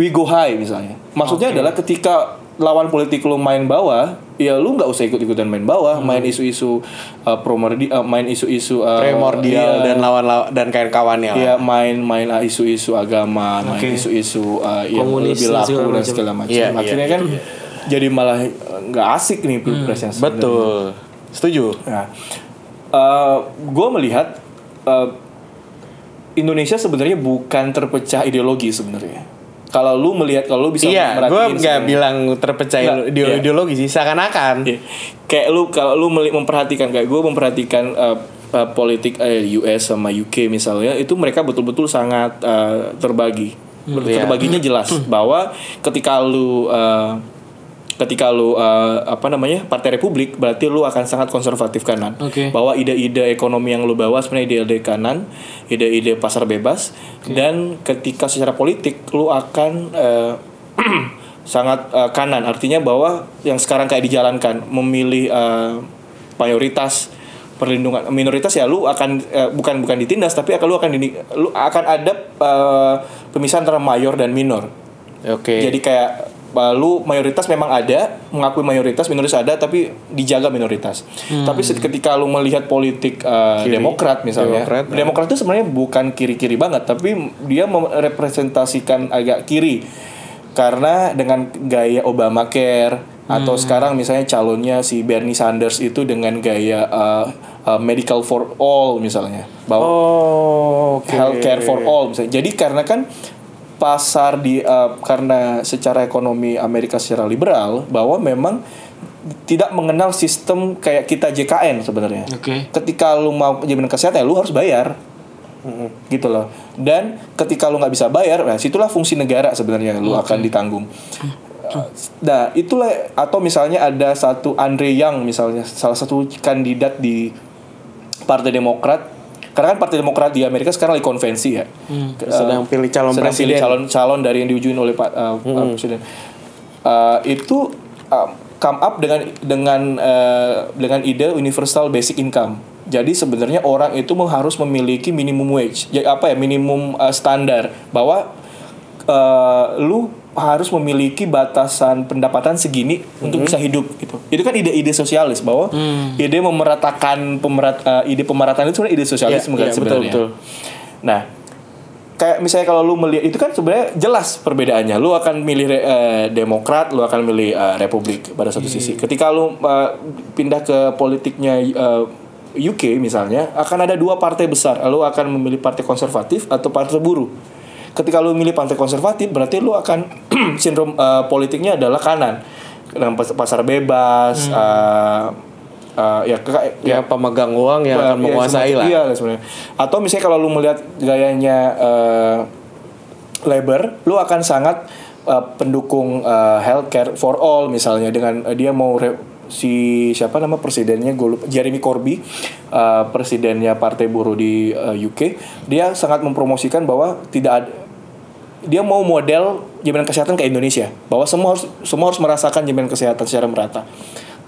C: we go high misalnya maksudnya adalah ketika lawan politik lu main bawah, ya lu nggak usah ikut-ikutan main
B: Hmm.
C: bawah, main isu-isu uh, promordi, uh, main isu-isu uh,
A: primordial dan lawan dan kawan kawannya lah.
C: Iya main-main ah, isu-isu agama, main
B: Oke.
C: isu-isu ah, yang
B: Komunis
C: lebih
B: dan
C: laku
B: segala
C: dan
B: macam.
C: segala macam.
A: Iya, iya,
C: Akhirnya kan jadi malah eh, nggak asik nih
B: Hmm.
C: pilpres yang sebenarnya.
A: betul setuju
C: Nah, gue Eh, melihat eh, Indonesia sebenarnya bukan terpecah ideologi sebenarnya. Kalau lu melihat kalau lu bisa
A: iya gue nggak
C: merhatiin sebenarnya.
A: bilang terpecah
C: Nggak,
A: ide-
C: iya.
A: ideologi sih seakan-akan
C: Iya. Kayak lu kalau lu meli- memperhatikan kayak gue memperhatikan eh, eh, politik eh, US sama UK misalnya itu mereka betul-betul sangat eh, terbagi. Ber-
A: Iya.
C: Terbaginya jelas bahwa ketika lu eh, ketika lu eh, apa namanya Partai Republik berarti lu akan sangat konservatif kanan.
B: Oke.
C: Bahwa kan. ide-ide ekonomi yang lu bawa sebenarnya ide-ide kanan, ide-ide pasar bebas dan ketika secara politik lu akan eh, sangat eh, kanan artinya bahwa yang sekarang kayak dijalankan memilih eh, mayoritas perlindungan minoritas ya lu akan eh, bukan bukan ditindas tapi akan lu akan dini- lu akan ada eh, pemisahan antara mayor dan minor
A: oke
C: jadi kayak eh, lu mayoritas memang ada mengakui mayoritas minoritas ada tapi dijaga minoritas
A: Hmm.
C: tapi se- ketika lu melihat politik eh, demokrat misalnya
A: Demokrat, ya.
C: demokrat, itu sebenarnya bukan kiri kiri banget tapi dia merepresentasikan agak kiri karena dengan gaya Obamacare atau
A: Hmm.
C: sekarang misalnya calonnya si Bernie Sanders itu dengan gaya eh, eh, medical for all misalnya bahwa
A: oh oke
C: healthcare for all misalnya. Jadi karena kan pasar di eh, karena secara ekonomi Amerika secara liberal bahwa memang tidak mengenal sistem kayak kita JKN sebenarnya.
B: Oke.
C: Ketika lu mau jaminan kesehatan ya lu harus bayar. Gitu loh. Dan ketika lu nggak bisa bayar, nah situlah fungsi negara sebenarnya lu akan ditanggung. Nah, itulah atau misalnya ada satu Andre Yang misalnya salah satu kandidat di Partai Demokrat. Karena kan Partai Demokrat di Amerika sekarang lagi konvensi ya. Ke-
A: sedang pilih calon
C: sedang
A: presiden
C: pilih calon-calon dari yang diujuin oleh Pak uh, Pak Presiden. Uh, itu uh, come up dengan dengan uh, dengan ide universal basic income. Jadi sebenarnya orang itu meng- harus memiliki minimum wage, ya apa ya minimum uh, standar bahwa uh, lu harus memiliki batasan pendapatan segini untuk bisa hidup gitu. Itu kan ide-ide sosialis bahwa
A: Mm.
C: ide memeratakan pemerat uh, ide pemerataan itu sebenarnya ide sosialisme
A: Iya,
C: kan
A: iya, betul,
C: sebenarnya.
A: betul.
C: Nah, kayak misalnya kalau lu melihat itu kan sebenarnya jelas perbedaannya. Lu akan milih eh, Demokrat, lu akan milih eh, Republik pada satu sisi. Ketika lu eh, pindah ke politiknya eh, UK misalnya, akan ada dua partai besar. Lu akan memilih partai konservatif atau partai buruh. Ketika lu milih partai konservatif, berarti lu akan sindrom eh, politiknya adalah kanan. Dengan pas- pasar bebas, eh, eh, ya, ke-
A: ya pemegang uang yang akan
C: Iya,
A: menguasai
C: semacam-
A: lah
C: Iya sebenarnya. Atau misalnya kalau lu melihat gayanya eh, labor, lu akan sangat eh, pendukung eh, healthcare for all misalnya dengan eh, dia mau re- si siapa nama presidennya gue lupa Jeremy Corbyn eh, presidennya Partai Buruh di eh, UK dia sangat mempromosikan bahwa tidak ada dia mau model jaminan kesehatan ke Indonesia bahwa semua harus semua harus merasakan jaminan kesehatan secara merata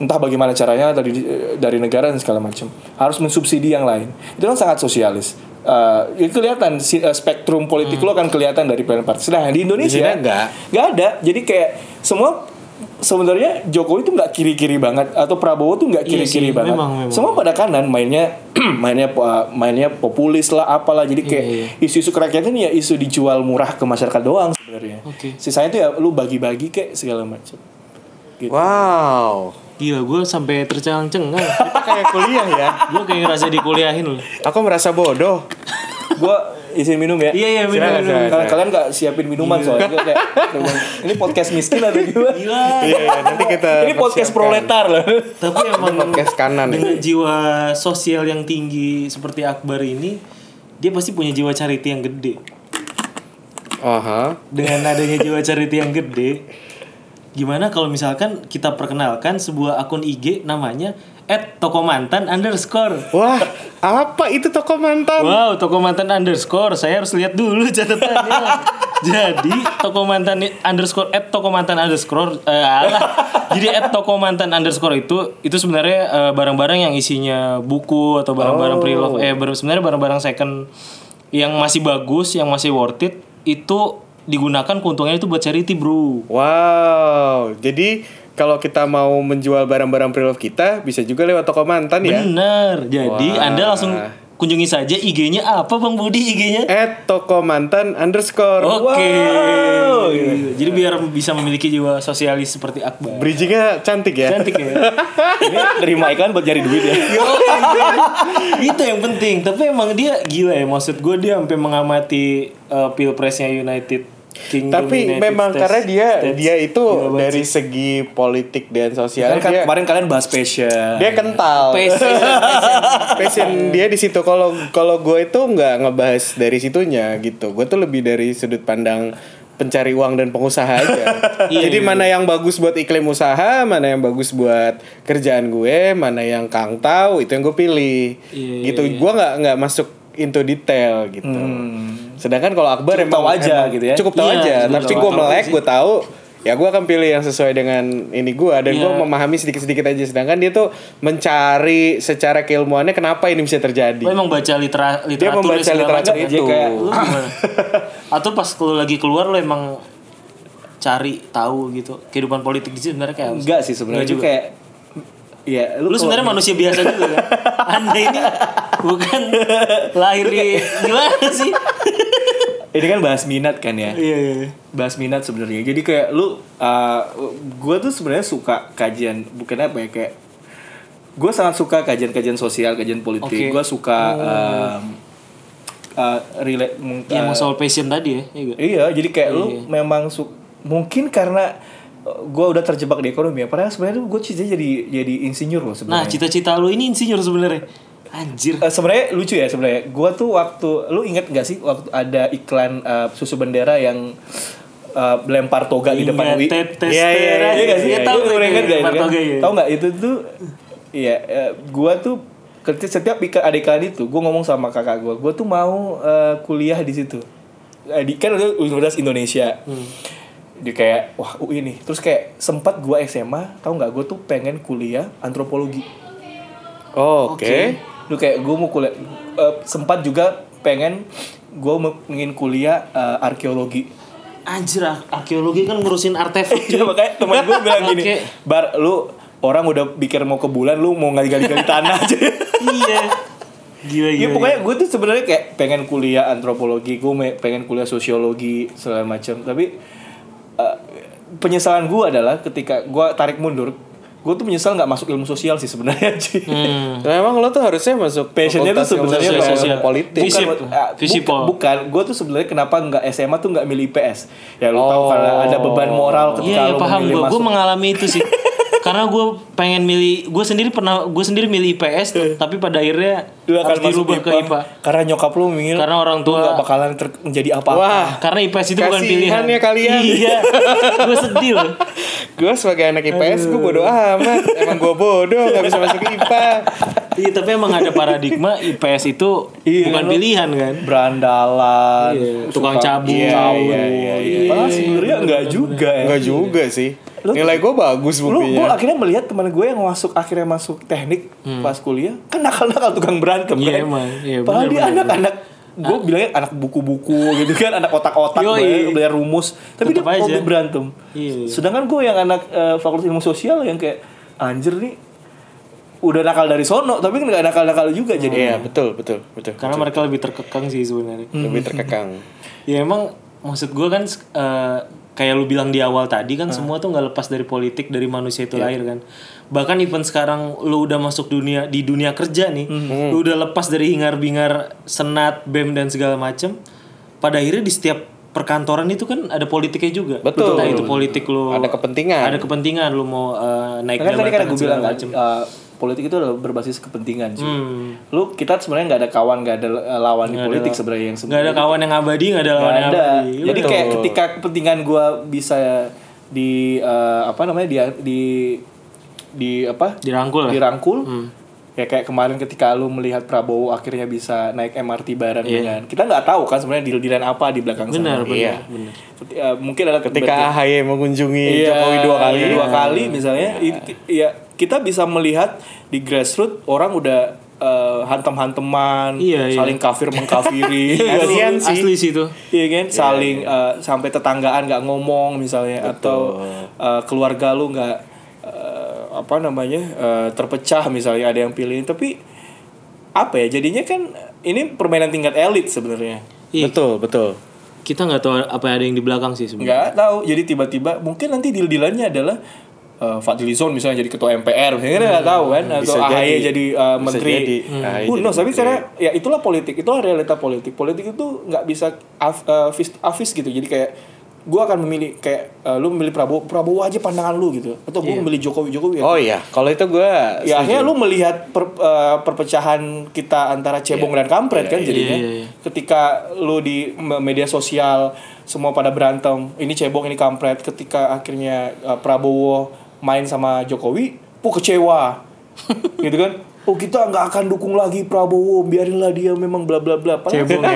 C: entah bagaimana caranya dari dari negara dan segala macam harus mensubsidi yang lain itu kan sangat sosialis Eh, itu kelihatan si- eh, spektrum politik
B: Hmm.
C: lo akan kelihatan dari pilihan partai sedangkan di
A: Di
C: Indonesia
A: sini enggak.
C: nggak ada jadi kayak semua sebenarnya Jokowi tuh nggak kiri-kiri banget atau Prabowo tuh nggak
B: Iya
C: kiri-kiri
B: sih,
C: banget
B: memang, memang.
C: semua Oh, pada kanan mainnya mainnya uh, mainnya populis lah apalah jadi kayak
B: Iya, iya.
C: isu-isu kerakyatan ya isu dijual murah ke masyarakat doang sebenarnya
B: Oke.
C: sisanya tuh ya lu bagi-bagi kayak segala macam
A: wow
B: Gila gue sampai tercengang-cengang.
A: kita kayak kuliah ya
B: gue kayak ngerasa dikuliahin loh.
A: aku merasa bodoh
C: gue izin minum ya
B: Iya iya
A: Silakan,
B: benar.
A: silakan.
C: Karena kalian nggak siapin minuman
A: Iya.
C: soalnya Gua kayak, ini podcast miskin atau gimana
B: Gila.
A: iya nanti kita
C: ini podcast
A: persiapkan.
C: proletar loh
B: Tapi emang
A: podcast kanan ya.
B: dengan jiwa sosial yang tinggi seperti Akbar ini, dia pasti punya jiwa charity yang gede.
A: Aha.
B: Dengan adanya jiwa charity yang gede, gimana kalau misalkan kita perkenalkan sebuah akun IG namanya @tokomantan underscore.
A: Wah, apa itu toko mantan?
B: Wow, toko mantan underscore. Saya harus lihat dulu catatannya. Jadi toko mantan underscore at toko mantan underscore eh, alah. Jadi at toko mantan underscore itu itu sebenarnya eh, barang-barang yang isinya buku atau barang-barang pre-love eh bar- sebenarnya barang-barang second yang masih bagus, yang masih worth it itu digunakan keuntungannya itu buat charity bro
A: Wow, jadi kalau kita mau menjual barang-barang pre-love kita bisa juga lewat toko mantan ya.
B: bener jadi
A: Wah.
B: anda langsung kunjungi saja IG-nya apa bang Budi IG-nya
A: At toko mantan underscore.
B: oke
A: Wow.
B: jadi biar bisa memiliki jiwa sosialis seperti Akbar
A: Bridgingnya cantik ya.
B: cantik ya
C: Terima iklan buat cari duit ya.
A: Iya,
B: itu yang penting tapi emang dia gila ya maksud gue dia sampai mengamati uh, pilpresnya United Kingdom
A: Tapi
B: United
A: memang
B: States-
A: karena dia
B: States.
A: dia itu
B: Gila banget
A: dari
B: sih.
A: segi politik dan sosial
C: Kan kan-
A: dia,
C: kemarin kalian bahas passion.
A: iya. dia kental.
B: Passion,
A: Passion dia di situ kalau kalau gue itu nggak ngebahas dari situnya gitu. Gue tuh lebih dari sudut pandang pencari uang dan pengusaha aja.
C: Iya,
A: Jadi mana yang bagus buat iklim usaha, mana yang bagus buat kerjaan gue, mana yang kang tahu itu yang gue pilih.
C: Iya,
A: gitu. Gue nggak nggak masuk into detail gitu. Sedangkan kalau Akbar
C: Hmm. Cukup tahu aja gitu ya.
A: Cukup tahu
B: Iya,
A: aja.
B: cukup
A: Tapi
B: tahu.
A: gue
B: Tahu
A: melek,
B: sih.
A: gue tahu. Ya gue akan pilih yang sesuai dengan ini gue dan
B: Iya.
A: gue memahami sedikit-sedikit aja. Sedangkan dia tuh mencari secara keilmuannya kenapa ini bisa terjadi.
B: Lo emang baca litera literatur
A: membaca
B: dan segala
A: literatur
B: macam
A: itu.
B: aja kayak, lu gimana? atau pas lo lagi keluar lo emang cari tahu gitu kehidupan politik di sini sebenarnya kayak apa
C: Enggak sih sebenarnya
B: Enggak
C: juga kayak ya
B: lu
C: kalau-
B: sebenarnya manusia biasa juga kan anda ini bukan lahir di gimana sih
C: ini kan bahas minat kan ya.
B: iya iya iya.
C: bahas minat sebenarnya jadi kayak lu uh, gue tuh sebenarnya suka kajian bukan apa ya kayak gue sangat suka kajian-kajian sosial kajian
B: Oke.
C: politik gue suka um, uh, relate mung-
B: yang
C: uh,
B: Iya, soal passion tadi ya iya gak?
C: iya jadi kayak lu memang su- mungkin karena gue udah terjebak di ekonomi ya padahal sebenarnya gue cita jadi jadi insinyur loh
B: nah
C: sebenarnya
B: cita-cita lu ini insinyur sebenarnya anjir
C: Eh, sebenarnya lucu ya sebenarnya. Gua tuh waktu lu inget gak sih waktu ada iklan eh, susu bendera yang eh, lempar toga di depan UI.
B: Ingat tetes
A: Iya, iya,
B: teras.
C: Iya gak sih?
B: Iya,
C: Tahu
B: iya,
C: lu
B: iya,
C: inget gak itu
B: Mark
C: kan?
B: Toge, iya.
C: Tahu gak itu tuh Iya, eh, gua tuh ketika setiap iklan, ada iklan itu, gua ngomong sama kakak gua, gua tuh mau eh, kuliah di situ. Eh, di kan udah Universitas Indonesia.
B: Hmm.
C: Dia kayak wah UI nih. Terus kayak sempat gua SMA, tahu nggak gua tuh pengen kuliah antropologi Eh,
A: Oh, Oke.
C: lu kayak gue mau kuliah eh, sempat juga pengen gue ingin kuliah eh, arkeologi
B: anjir ar- arkeologi kan ngurusin artefak
C: ya makanya teman gue bilang gini
B: Oke.
C: bar lu orang udah pikir mau ke bulan lu mau gali-gali tanah aja
B: iya gila gila
C: Iya pokoknya gue tuh sebenarnya kayak pengen kuliah antropologi, gue me- pengen kuliah sosiologi segala macam. Tapi eh, penyesalan gue adalah ketika gue tarik mundur, gue tuh menyesal nggak masuk ilmu sosial sih sebenarnya. cuy.
B: Hmm.
A: Nah, emang lo tuh harusnya masuk
C: passionnya tuh
A: fakultas ilmu
C: sebenarnya
A: sosial-
B: sosial.
A: politik.
B: Fisip.
C: Bukan, eh,
B: Fisip,
C: bukan,
B: Pol.
C: bukan. gue tuh sebenarnya kenapa nggak SMA tuh nggak milih IPS ya lu tahu karena ada beban moral
B: Oh.
C: ketika
B: Iya, iya
C: lu
B: paham
C: memilih
B: gue. Gue
C: masuk
B: mengalami itu sih. Karena gue pengen milih, gue sendiri pernah, gue sendiri milih IPS, tuh, tapi pada akhirnya
C: Eh. Lu akan
B: harus
C: masuk
B: dirubah ke IPA.
C: karena nyokap lu mikir
B: Karena orang
C: lu nggak
B: tua,
C: bakalan ter- menjadi apa-apa
A: Wah,
B: karena IPS itu bukan
A: Kasihan
B: pilihan.
A: ya kalian.
B: Iya, gue sedih loh.
A: gue sebagai anak IPS gue bodoh amat. Emang gue bodoh nggak bisa masuk IPA.
B: Iya, tapi emang ada paradigma IPS itu
C: Iya,
B: bukan
C: lu-
B: pilihan kan.
C: berandalan
B: Tukang
C: suka-
B: cabul.
A: Iya, iya, iya, iya.
C: Padahal sebenarnya nggak
B: iya.
C: juga ya.
A: Enggak juga sih.
C: Lu-
A: Nilai gue bagus
C: Lu, gue
A: buktinya.
C: akhirnya melihat teman gue yang masuk akhirnya masuk teknik pas kuliah kan nakal-nakal tukang berantem
B: Hmm. Iya,
C: kan.
B: emang. Iya, benar,
C: Padahal dia
B: benar, Ah.
C: anak-anak gue bilangnya anak buku-buku gitu kan anak otak-otak
B: Yoi.
C: belajar, belajar rumus tapi
B: Tetep
C: dia
B: aja.
C: hobi berantem.
B: Iya.
C: Sedangkan gue yang anak eh, fakultas ilmu sosial yang kayak anjir nih udah nakal dari sono tapi nggak nakal-nakal juga
B: Hmm.
C: jadi
A: Iya betul betul betul.
B: Karena mereka lebih terkekang sih sebenarnya.
A: Lebih terkekang.
B: Ya emang maksud gue kan eh, kayak lu bilang di awal tadi
C: Ah.
B: kan semua tuh nggak lepas dari politik dari manusia
C: Iya.
B: itu lahir kan. Bahkan even sekarang lu udah masuk dunia di dunia kerja nih,
C: Hmm.
B: lu udah lepas dari hingar-bingar senat, BEM dan segala macem pada akhirnya di setiap perkantoran itu kan ada politiknya juga.
A: Betul. Kan.
B: Entah itu politik lu
A: Ada kepentingan.
B: Ada kepentingan lu mau eh, naik
C: Kan tadi kan
B: jabatan segala
C: gue bilang kan,
B: macem. Hmm.
C: eh, politik itu adalah berbasis kepentingan sih. Lu kita sebenarnya nggak ada kawan, nggak ada eh, lawan di politik sebenarnya yang
B: Nggak ada kawan yang abadi, nggak ada lawan
C: Nggak
B: yang
C: ada.
B: abadi.
C: Jadi kayak ketika kepentingan gua bisa di eh, apa namanya di di di apa?
B: Dirangkul lah.
C: Dirangkul.
B: Hmm.
C: Ya kayak kemarin ketika lu melihat Prabowo akhirnya bisa naik MRT bareng dengan kita nggak tahu kan sebenarnya deal-dealan apa di belakang
B: Iya. Benar,
C: sana.
B: benar.
A: Iya.
C: Keti- eh, mungkin ada
A: Ketika AHY mengunjungi
B: Iya.
A: Jokowi dua kali.
C: dua kali misalnya i- ya kita bisa melihat di grassroots orang udah eh, hantem-hanteman,
B: Iya, iya.
C: saling kafir mengkafiri, Iya kan?
A: Kasian sih.
B: Asli sih itu.
C: Iya kan, saling eh, sampai tetanggaan nggak ngomong misalnya atau eh, keluarga lu nggak eh, apa namanya eh, terpecah misalnya ada yang pilih tapi apa ya jadinya kan ini permainan tingkat elit sebenarnya
B: Iya.
A: Betul, betul.
B: Kita nggak tahu apa yang ada yang di belakang sih sebenarnya.
C: nggak tahu jadi tiba-tiba mungkin nanti deal-dealannya adalah eh, Fadlizon misalnya jadi ketua MPR misalnya kan nggak tahu kan atau
A: Hmm, bisa
C: AHY
A: jadi.
C: jadi, eh,
A: Bisa
C: menteri
A: jadi.
C: Hmm.
A: AHY
C: Who
A: jadi
C: knows, tapi karena ya itulah politik itulah realita politik politik itu nggak bisa af, eh, fis- afis gitu jadi kayak gua akan memilih kayak eh, lu memilih Prabowo Prabowo aja pandangan lu gitu
A: Iya.
C: atau gua memilih Jokowi Jokowi ya.
A: Oh iya, kalau itu gue
C: Ya, akhirnya lu melihat per- eh, perpecahan kita antara cebong dan kampret kan jadinya.
B: iya, iya.
C: Ketika lu di me- media sosial semua pada berantem, ini cebong ini kampret. Ketika akhirnya eh, Prabowo main sama Jokowi, puh kecewa. gitu kan? Oh kita nggak akan dukung lagi Prabowo, biarinlah dia memang bla bla bla. Padahal-
B: Cebong ya.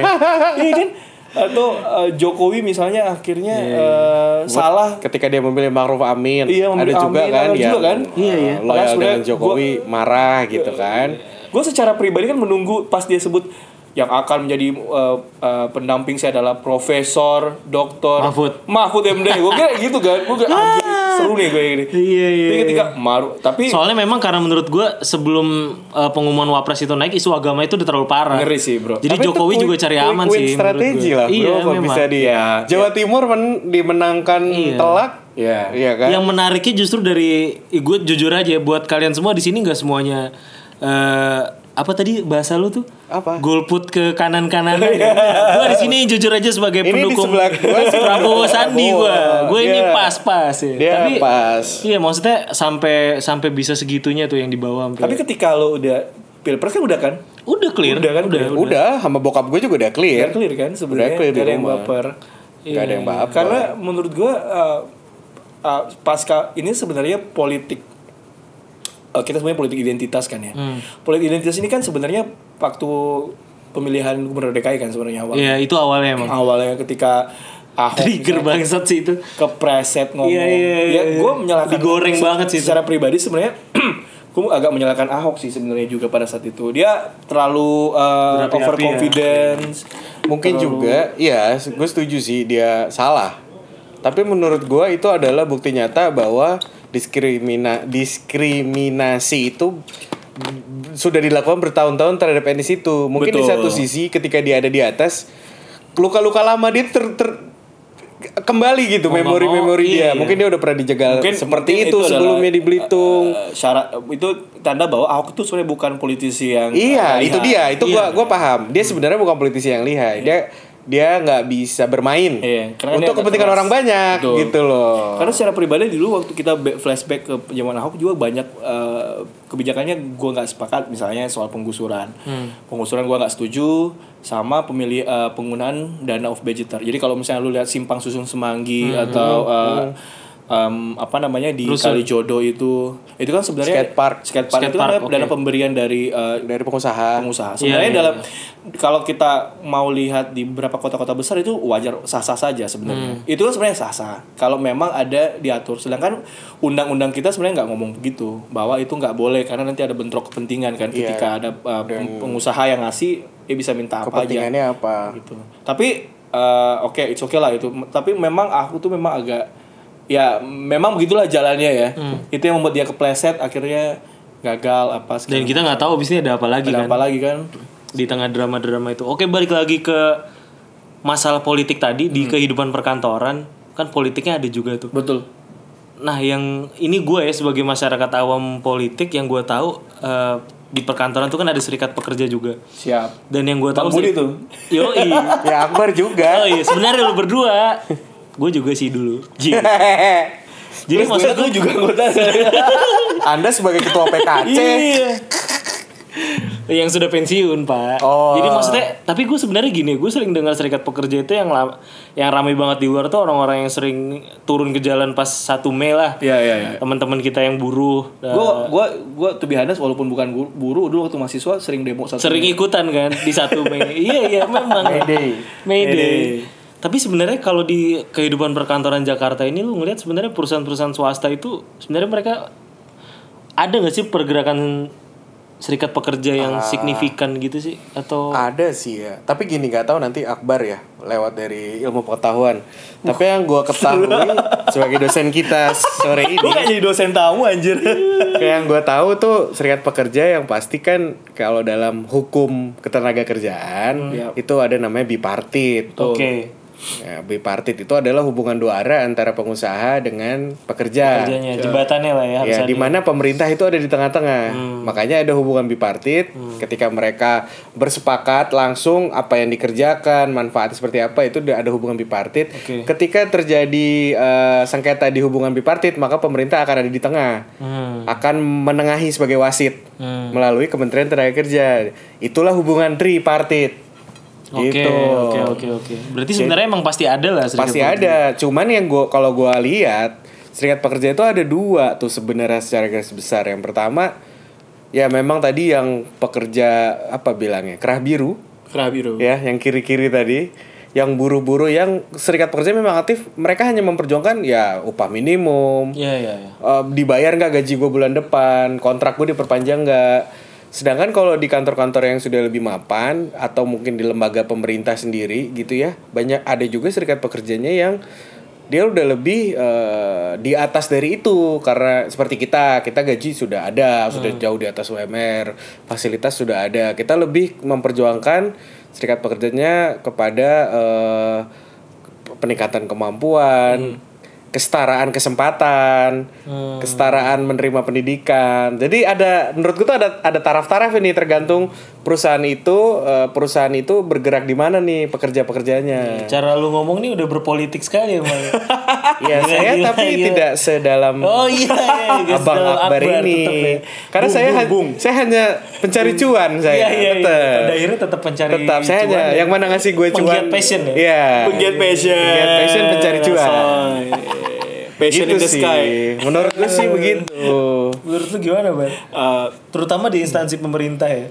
C: iya kan? Atau eh, Jokowi misalnya akhirnya
B: Iya,
C: eh, salah
A: ketika dia memilih Ma'ruf Amin,
C: Iya,
A: ada
C: memilih
A: juga
C: Amin,
A: kan
C: ada
A: yang
C: juga kan?
A: eh,
C: Iya, iya. Padahal
A: loyal dengan
C: sebenarnya
A: Jokowi marah gitu kan.
C: Gue secara pribadi kan menunggu pas dia sebut yang akan menjadi uh, uh, pendamping saya adalah profesor, dokter
B: Mahfud.
C: Mahfud MD. Gue kira gitu kan. Gue kira anjing, seru nih gue ini.
B: Iya, iya,
C: Tapi ketika maru tapi
B: Soalnya memang karena menurut gue sebelum eh, pengumuman wapres itu naik isu agama itu udah terlalu parah.
C: Ngeri sih, bro.
B: Jadi
A: Tapi itu
B: Jokowi
A: quick-
B: juga cari
A: quick
B: aman
A: win
B: sih. menurut
A: strategi
B: gua.
A: lah, bro.
B: Iya,
A: kalau
B: memang.
A: bisa di
C: Iya.
A: Jawa Timur men- dimenangkan
B: Iya.
A: telak,
C: Iya.
A: iya kan?
B: Yang menariknya justru dari eh, gue jujur aja buat kalian semua di sini nggak semuanya eh, apa tadi bahasa lu tuh?
A: Apa?
B: Golput ke kanan-kanan. gue di sini jujur aja
A: Ini
B: sebagai
A: di
B: pendukung
A: sebelah gua sih.
B: Prabowo Sandi gue. Gue ini
A: Iya.
B: pas-pas ya.
A: Dia pas.
B: Iya, maksudnya sampai sampai bisa segitunya tuh yang dibawa sampai.
C: tapi ketika lo udah pilpres kan udah kan?
B: udah clear.
C: Udah kan udah.
A: udah, sama bokap gue juga udah clear.
C: Udah clear kan sebenarnya.
A: Udah clear di
C: Gak ada yang
A: rumah.
C: baper.
B: Iya.
A: Gak ada yang baper.
C: Karena menurut gue uh, uh, pasca ini sebenarnya politik uh, kita sebenarnya politik identitas kan ya.
B: Hmm.
C: Politik identitas ini kan sebenarnya waktu pemilihan gubernur DKI kan sebenarnya awal.
B: Iya, itu awalnya emang.
C: Awalnya ketika Ahok
B: Trigger bangsat sih itu.
C: kepreset ngomong.
B: Iya, iya, iya,
C: Ya, gue menyalahkan
B: Digoreng banget sih itu.
C: Secara pribadi sebenarnya gue agak menyalahkan Ahok sih sebenarnya juga pada saat itu. Dia terlalu uh,
B: Berapi-api ya.
C: overconfidence.
A: Mungkin juga, iya, gue setuju sih dia salah. Tapi menurut gue itu adalah bukti nyata bahwa diskrimina diskriminasi itu sudah dilakukan bertahun-tahun terhadap etnis itu. Mungkin di
C: Betul.
A: satu sisi ketika dia ada di atas, luka-luka lama dia ter, ter- kembali gitu memori-memori dia. Mungkin dia udah pernah dijegal seperti
C: iya. mungkin
A: itu,
C: adalah,
A: sebelumnya di Belitung.
C: eh, syarat itu tanda bahwa Ahok itu sebenarnya bukan politisi yang
A: Iya,
C: eh,
A: itu dia.
C: lihai.
A: Itu gua gua paham. Dia sebenarnya bukan politisi yang lihai. Dia dia nggak bisa bermain
C: Iya, karena dia
A: untuk
C: agak
A: kepentingan
C: keras.
A: orang banyak
C: Betul.
A: gitu loh.
C: Karena secara pribadi dulu waktu kita ba- flashback ke zaman Ahok juga banyak eh, kebijakannya gua nggak sepakat misalnya soal penggusuran.
A: Hmm.
C: Penggusuran gua nggak setuju sama pemilih eh, penggunaan dana off budgeter. Jadi kalau misalnya lu lihat simpang susun semanggi
A: Hmm.
C: atau eh, em, apa namanya di Kalijodo itu itu kan sebenarnya
A: Skate park.
C: skate park
B: Skate
C: itu kan
B: park,
C: ada dana
B: oke.
C: pemberian dari eh,
A: Dari pengusaha.
C: pengusaha. Sebenarnya dalam kalau kita mau lihat di beberapa kota-kota besar itu wajar sah-sah saja sebenarnya. Itu kan sebenarnya sah-sah. Kalau memang ada diatur. Sedangkan undang-undang kita sebenarnya nggak ngomong begitu bahwa itu nggak boleh karena nanti ada bentrok kepentingan kan ketika ada uh, pengusaha yang ngasih dia bisa minta apa aja
A: Kepentingannya apa?
C: gitu. Tapi eh, oke it's okay lah itu. Tapi memang aku tuh memang agak ya memang begitulah jalannya ya. Itu yang membuat dia kepleset akhirnya gagal apa segala
B: Dan kita nggak tahu abis ini ada apa lagi
C: ada
B: kan
C: apa lagi kan
B: di tengah drama-drama itu. Oke, balik lagi ke masalah politik tadi
C: Hmm.
B: di kehidupan perkantoran kan politiknya ada juga tuh.
C: betul
B: Nah, yang ini gue ya sebagai masyarakat awam politik yang gue tahu eh, di perkantoran tuh kan ada serikat pekerja juga.
C: Siap.
B: Dan yang gue tahu
C: Budi
B: seri-
C: tuh.
B: Yoi.
A: ya Akbar
B: Oh
A: juga.
B: iya, sebenarnya lu berdua. Gue juga sih dulu. Jing.
C: Jadi
B: Terus
C: maksud gue juga anggota
A: Anda sebagai ketua PKC.
C: Iya.
B: yang sudah pensiun pak.
A: Oh.
B: Jadi maksudnya, tapi gue sebenarnya gini, gue sering dengar serikat pekerja itu yang lam- yang ramai banget di luar tuh orang-orang yang sering turun ke jalan pas 1 Mei lah.
C: Iya iya Eh, iya.
B: Teman-teman kita yang buruh, nah,
C: Gue gue gue tuh bihanas walaupun bukan guru, buruh dulu waktu mahasiswa sering demo satu.
B: sering ikutan kan di 1 Mei. iya iya memang.
A: Mayday.
B: Mayday.
C: Mayday.
B: Tapi sebenarnya kalau di kehidupan perkantoran Jakarta ini lu ngeliat sebenarnya perusahaan-perusahaan swasta itu sebenarnya mereka ada nggak sih pergerakan serikat pekerja yang signifikan gitu sih atau
A: Ada sih ya. Tapi gini nggak tahu nanti Akbar ya lewat dari ilmu pengetahuan. Tapi yang gue ketahui sebagai dosen kita sore ini,
C: Gue kayak jadi dosen tamu anjir.
B: Iya.
A: kayak yang gue tahu tuh serikat pekerja yang pasti kan kalau dalam hukum ketenaga kerjaan itu ada namanya bipartit.
B: oke
A: Ya, bipartit itu adalah hubungan dua arah antara pengusaha dengan pekerja.
B: kerjanya jembatannya lah ya harus
A: Ya,
B: ada. Hmm.
A: di mana pemerintah itu ada di tengah-tengah. Makanya ada hubungan bipartit. Ketika mereka bersepakat langsung apa yang dikerjakan, manfaatnya seperti apa itu udah ada hubungan bipartit.
B: Oke.
A: Ketika terjadi eh, sengketa di hubungan bipartit, maka pemerintah akan ada di tengah.
B: Hmm.
A: Akan menengahi sebagai wasit
B: Hmm.
A: melalui Kementerian Tenaga Kerja. Itulah hubungan tripartit.
B: Oke,
A: Gitu.
B: oke, oke, oke. Berarti sebenarnya emang pasti ada lah serikat
A: Pasti
B: pekerja.
A: ada. Cuman yang gua kalau gua lihat serikat pekerja itu ada dua tuh sebenarnya secara garis besar. Yang pertama ya memang tadi yang pekerja apa bilangnya kerah biru
C: Kerah biru.
A: ya yang kiri-kiri tadi yang buruh-buruh yang serikat pekerja memang aktif mereka hanya memperjuangkan ya upah minimum
B: Iya, iya, iya.
A: eh, dibayar nggak gaji gue bulan depan kontrak gue diperpanjang nggak sedangkan kalau di kantor-kantor yang sudah lebih mapan atau mungkin di lembaga pemerintah sendiri gitu ya banyak ada juga serikat pekerjanya yang dia udah lebih eh, di atas dari itu karena seperti kita kita gaji sudah ada sudah jauh di atas UMR fasilitas sudah ada kita lebih memperjuangkan serikat pekerjanya kepada eh, peningkatan
B: Hmm.
A: kemampuan, kesetaraan kesempatan, kesetaraan menerima pendidikan. Jadi ada menurutku tuh ada ada taraf-taraf ini tergantung perusahaan itu eh, perusahaan itu bergerak di mana nih pekerja-pekerjanya.
B: Cara lu ngomong nih udah berpolitik sekali emang.
A: Iya,
B: Gila,
A: saya
B: gila,
A: tapi
B: gila.
A: tidak sedalam
B: oh iya, iya, guys,
A: Abang
B: dalam
A: Akbar, ini.
B: tetep ya.
A: Karena saya ha- saya hanya pencari cuan saya.
B: Iya, iya, iya.
A: tetap.
B: Pada akhirnya tetap pencari
A: Tetap saya
B: cuan
A: hanya
B: ya.
A: yang mana ngasih gue
B: Penggiat
A: cuan.
B: passion ya? Iya,
A: Iya.
C: Penggiat passion.
A: Penggiat passion pencari cuan.
C: Soy. Passion
A: gitu
C: in the
A: sih.
C: sky.
A: Menurut gue sih begitu.
B: Menurut lu gimana, Bang?
C: Eh,
B: Terutama di instansi pemerintah ya.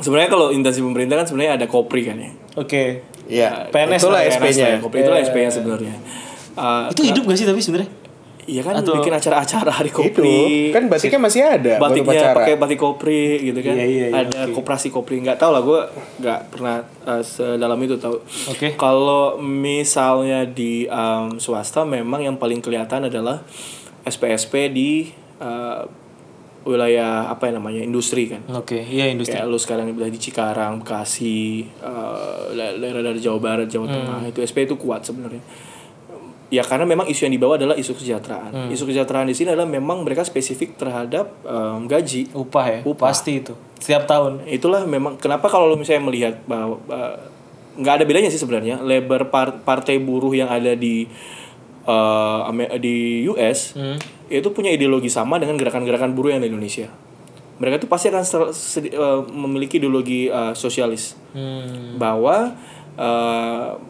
C: sebenarnya kalau instansi pemerintah kan sebenarnya ada kopri kan ya.
B: Oke.
A: Iya.
B: PNS
A: itulah
B: lah, PNS
A: SP-nya.
C: Nah, Kopri itulah SP-nya sebenarnya. Eh,
B: Itu hidup gak sih tapi sebenarnya?
C: Iya kan
B: Atau-
C: bikin acara-acara hari
A: Itu
C: kopri.
A: kan batiknya masih ada baru
C: batiknya
A: pacaran.
C: pakai batik kopri gitu kan
B: Iya, iya, iya,
C: ada koperasi kopri nggak tahu lah gue nggak pernah eh, sedalam itu tahu
B: Oke.
C: Eh, kalau misalnya di em, swasta memang yang paling kelihatan adalah SPSP di eh, wilayah apa ya namanya industri kan
B: Oke, iya industri.
C: kayak lu sekarang udah di Cikarang Bekasi eh, daerah dari Jawa Barat Jawa Tengah itu SP itu kuat sebenarnya ya karena memang isu yang dibawa adalah isu kesejahteraan isu kesejahteraan di sini adalah memang mereka spesifik terhadap em, gaji
B: Upah ya. Pasti itu. Setiap tahun.
C: itulah memang kenapa kalau misalnya melihat bahwa eh, nggak ada bedanya sih sebenarnya labor par- partai buruh yang ada di eh, Ame- di US itu punya ideologi sama dengan gerakan-gerakan buruh yang ada di Indonesia mereka tuh pasti akan ser- sedi- eh, memiliki ideologi eh, sosialis
B: Hmm.
C: bahwa eh,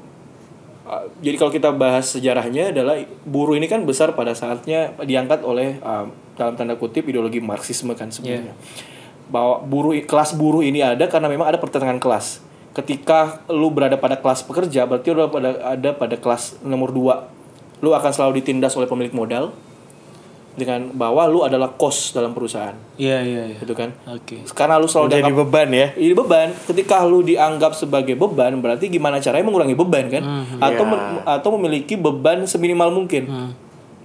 C: Uh, jadi kalau kita bahas sejarahnya adalah buruh ini kan besar pada saatnya diangkat oleh um, dalam tanda kutip ideologi marxisme kan sebenarnya. Bahwa buruh kelas buruh ini ada karena memang ada pertentangan kelas. Ketika lu berada pada kelas pekerja berarti lu pada ada pada kelas nomor 2. Lu akan selalu ditindas oleh pemilik modal dengan bahwa lu adalah kos dalam perusahaan,
B: Iya, iya, iya.
C: gitu kan.
B: Oke.
C: Karena lu selalu
A: Jadi
C: dianggap
A: beban ya.
C: ini beban. Ketika lu dianggap sebagai beban, berarti gimana caranya mengurangi beban kan?
B: Hmm, iya.
C: atau men- atau memiliki beban seminimal mungkin.
B: Hmm.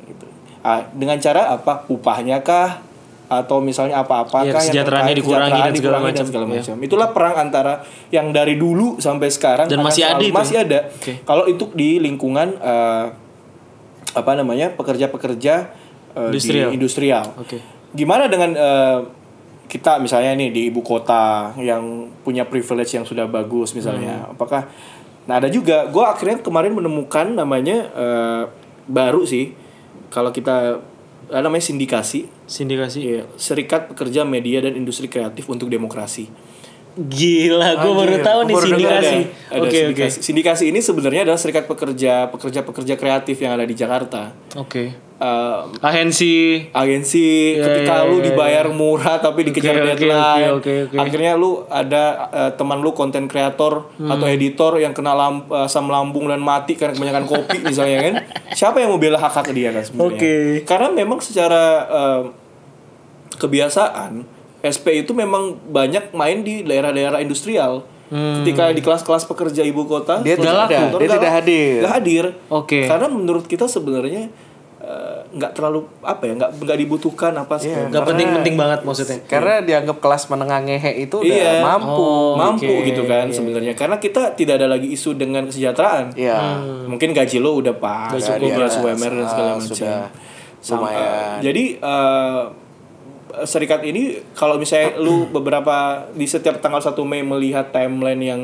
C: Gitu. Ah, dengan cara apa? Upahnya kah? Atau misalnya apa-apakah
B: Iya,
C: yang
B: kesejahteraannya
C: terkait-
B: dikurangi
C: kesejahteraan
B: dan segala
C: dikurangi
B: macam. Iya.
C: segala macam. Itulah perang antara yang dari dulu sampai sekarang
B: Dan
C: akan
B: masih ada
C: selalu-
B: itu.
C: masih ada.
B: Oke.
C: Kalau itu di lingkungan eh, apa namanya? pekerja-pekerja eh,
B: Industrial.
C: di industrial.
B: Oke.
C: Gimana dengan eh, kita misalnya nih di ibu kota yang punya privilege yang sudah bagus misalnya,
B: Hmm.
C: apakah? Nah ada juga, gue akhirnya kemarin menemukan namanya eh, baru sih, kalau kita eh, namanya sindikasi,
B: Sindikasi.
C: Iya, Serikat Pekerja Media dan Industri Kreatif untuk Demokrasi.
B: Gila, gue baru tahu nih Oh,
A: ya.
B: sindikasi.
C: Ada
B: Oke, oke.
C: sindikasi. Sindikasi ini sebenarnya adalah serikat pekerja pekerja pekerja kreatif yang ada di Jakarta.
B: Oke.
C: Eh,
B: Agensi
C: agensi
B: Iya,
C: ketika lu dibayar murah tapi dikejar
B: oke,
C: deadline
B: oke, oke.
C: akhirnya lu ada eh, teman lu konten kreator
B: Hmm.
C: atau editor yang kena lam- asam lambung dan mati karena kebanyakan kopi misalnya kan siapa yang mau bela hak hak dia kan sebenarnya
B: Oke.
C: karena memang secara eh, kebiasaan SP itu memang banyak main di daerah-daerah industrial.
B: Hmm.
C: Ketika di kelas-kelas pekerja ibu kota,
A: Dia
C: kelas
A: tidak,
C: kantor,
A: dia
C: nggak-
A: tidak hadir.
C: nggak hadir.
B: Oke.
C: Karena menurut kita sebenarnya eh, nggak terlalu apa ya, nggak nggak dibutuhkan apa sih.
B: Gak penting-penting banget maksudnya.
A: Karena dianggap kelas menengah ngehe itu udah
C: Iya.
A: mampu.
C: mampu gitu kan sebenarnya karena kita tidak ada lagi isu dengan kesejahteraan
A: Iya.
B: Eh,
C: mungkin gaji lo udah pas
A: Udah
C: cukup
A: di
C: beras
A: atas,
C: UMR dan segala
A: ah,
C: macam
A: sudah.
C: Sama-
A: Lumayan.
C: jadi eh, serikat ini kalau misalnya lu beberapa di setiap tanggal 1 Mei melihat timeline yang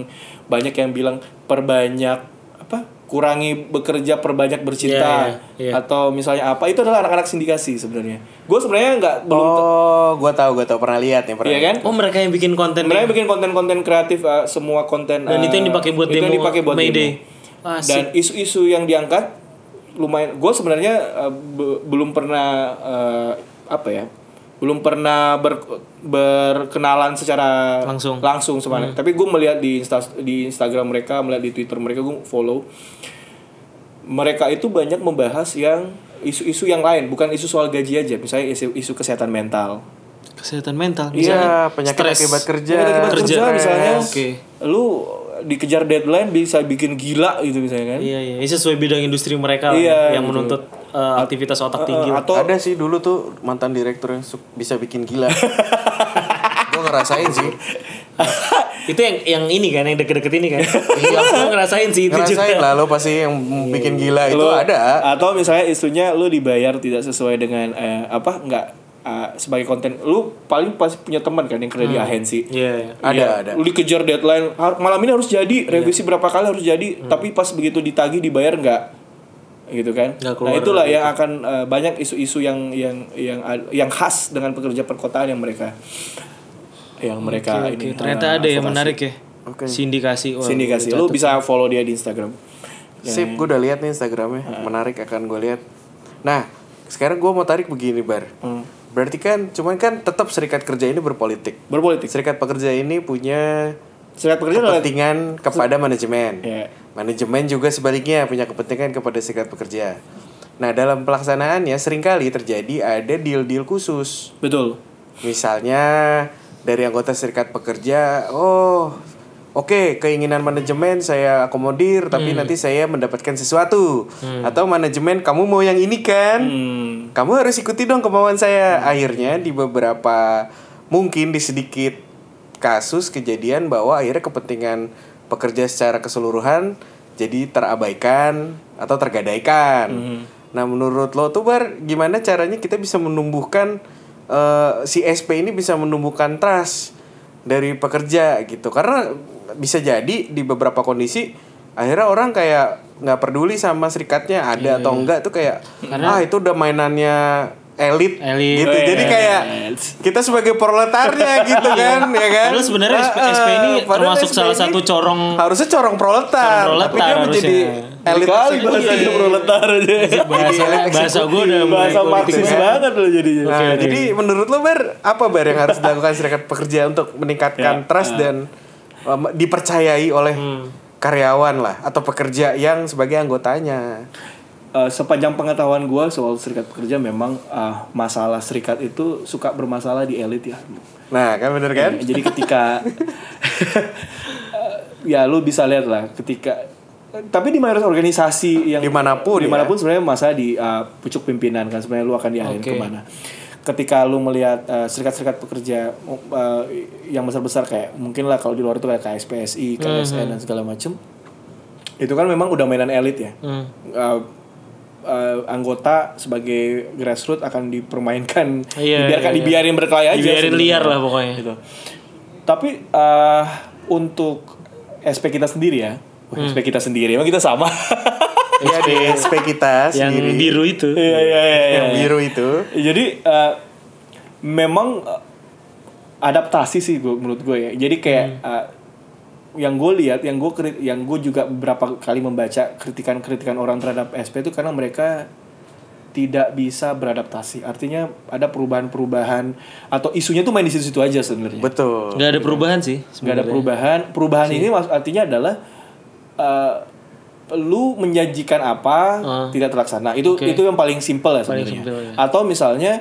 C: banyak yang bilang perbanyak apa kurangi bekerja perbanyak bercinta
B: Iya, iya, iya.
C: atau misalnya apa itu adalah anak-anak sindikasi sebenarnya gue sebenarnya nggak belum
A: Oh, gua tahu, gua tahu pernah lihat nih, pernah.
C: Iya kan
B: Oh mereka yang bikin konten
C: mereka
B: ini.
C: bikin konten-konten kreatif eh, semua konten
B: dan
C: eh,
B: itu yang dipakai buat
C: itu yang
B: demo
C: dipakai buat
B: Mayday.
C: demo. dan isu-isu yang diangkat lumayan gue sebenarnya eh, be- belum pernah eh, apa ya belum pernah ber- berkenalan secara
B: Langsung. Hmm.
C: langsung sebenarnya tapi gue melihat di Insta- di Instagram mereka melihat di Twitter mereka gue follow mereka itu banyak membahas yang isu-isu yang lain bukan isu soal gaji aja misalnya isu, isu kesehatan mental
B: kesehatan mental
A: Iya, penyakit
B: stres.
A: akibat kerja.
C: Penyakit akibat kerja,
B: Kerja.
C: misalnya
B: Oke.
C: lu dikejar deadline bisa bikin gila gitu misalnya kan
B: Iya iya, Ini sesuai bidang industri mereka lah,
C: Iya,
B: yang
C: gitu.
B: menuntut eh, aktivitas otak tinggi. lah.
C: atau
A: Ada sih dulu tuh mantan direktur yang su- bisa bikin gila. gua ngerasain sih.
B: itu yang yang ini kan yang deket-deket ini kan. Iya, aku ngerasain sih itu
A: Ngerasain
B: juga.
A: lah lo pasti yang bikin gila itu ada.
C: atau misalnya isunya lu dibayar tidak sesuai dengan eh, apa nggak eh, sebagai konten lu paling pasti punya teman kan yang kerja di agensi
B: Iya. iya.
A: Ada,
C: Iya,
A: ada.
C: lu dikejar deadline har- malam ini harus jadi revisi berapa kali harus jadi
B: Hmm.
C: tapi pas begitu ditagih dibayar nggak gitu kan
B: Nggak
C: nah
B: keluar
C: itulah yang akan eh, banyak isu-isu yang yang yang ad- yang khas dengan pekerja perkotaan yang mereka yang mereka
B: Hmm, Oke,
C: ini
B: ternyata ada yang menarik ya. Sindikasi. Wah,
C: sindikasi lu bisa follow dia di Instagram
A: Sip, gue udah lihat nih Instagramnya, menarik akan gue lihat. Nah, sekarang gue mau tarik begini bar. Berarti kan, cuman kan tetap serikat kerja ini berpolitik.
C: berpolitik
A: Serikat pekerja ini punya
C: serikat pekerja adalah
A: kepentingan kepada manajemen.
C: Iya.
A: Manajemen juga sebaliknya punya kepentingan kepada serikat pekerja. Nah, dalam pelaksanaannya seringkali terjadi ada deal-deal khusus.
C: betul
A: Misalnya dari anggota serikat pekerja, oh oke keinginan manajemen saya akomodir, tapi nanti saya mendapatkan sesuatu. Atau manajemen kamu mau yang ini kan, kamu harus ikuti dong kemauan saya. Akhirnya di beberapa mungkin di sedikit kasus kejadian bahwa akhirnya kepentingan pekerja secara keseluruhan jadi terabaikan atau tergadaikan. Nah, menurut lo tuh Bar, gimana caranya kita bisa menumbuhkan eh, si SP ini bisa menumbuhkan trust dari pekerja gitu karena bisa jadi di beberapa kondisi akhirnya orang kayak nggak peduli sama serikatnya
B: Iya,
A: ada atau enggak tuh kayak ah itu udah mainannya elit
B: Elit.
A: gitu jadi kayak kita sebagai proletarnya gitu kan ya kan
B: Iya. Padahal sebenarnya
A: Ah,
B: SP ini
A: ah, padahal
B: termasuk
A: SP
B: salah
A: ini
B: satu corong
A: harusnya corong proletar,
B: Corong
A: tapi dia
B: proletar
A: menjadi
B: harusnya.
A: elit Iya,
C: kali
A: tersebut.
C: bahasanya proletar aja
B: bahasa bahasa gue udah mulai gitu.
C: bahasa
B: politik.
C: marxis banget lo jadinya
A: Nah, jadi menurut lo Bar, apa Bar yang harus dilakukan serikat pekerja untuk
C: Ya,
A: meningkatkan trust dan um, dipercayai oleh
C: Hmm.
A: karyawan lah atau pekerja yang sebagai anggotanya?
C: Eh, sepanjang pengetahuan gue soal serikat pekerja memang ah, masalah serikat itu suka bermasalah di elit ya
A: Nah, kan bener kan?
C: jadi ketika eh, ya lu bisa lihat lah ketika tapi di mayoritas organisasi yang
A: Dimanapun ya.
C: dimanapun sebenarnya masa di ah, pucuk pimpinan kan sebenarnya lu akan diarahin kemana ketika lu melihat eh, serikat-serikat pekerja eh, yang besar-besar kayak mungkin lah kalau di luar itu kayak KSPSI,
B: Hmm,
C: KSN dan segala macem itu kan memang udah mainan elit ya
B: Hmm.
C: Uh, uh, anggota sebagai grassroots akan dipermainkan
B: Iya,
C: dibiarkan
B: iya, iya.
C: dibiarin berkelahi aja
B: Dibiarin
C: sebenarnya.
B: liar lah pokoknya.
C: Gitu. tapi uh, untuk SP kita sendiri ya Wah, SP kita sendiri emang kita sama
A: Ya di SP kita
B: yang
A: sendiri
B: biru itu.
C: iya iya iya, iya
A: yang biru itu.
C: jadi eh, memang eh, adaptasi sih gua, menurut gue ya jadi kayak eh, yang gue lihat yang gue yang gue juga beberapa kali membaca kritikan-kritikan orang terhadap SP itu karena mereka tidak bisa beradaptasi artinya ada perubahan-perubahan atau isunya tuh main di situ-situ aja sebenarnya
A: Betul.
B: Gak ada perubahan sih.
C: nggak ada perubahan perubahan ini mas artinya adalah eh, lu menjanjikan apa tidak terlaksana itu itu yang paling Ah. simpel ya sebenarnya
B: simple, ya.
C: atau misalnya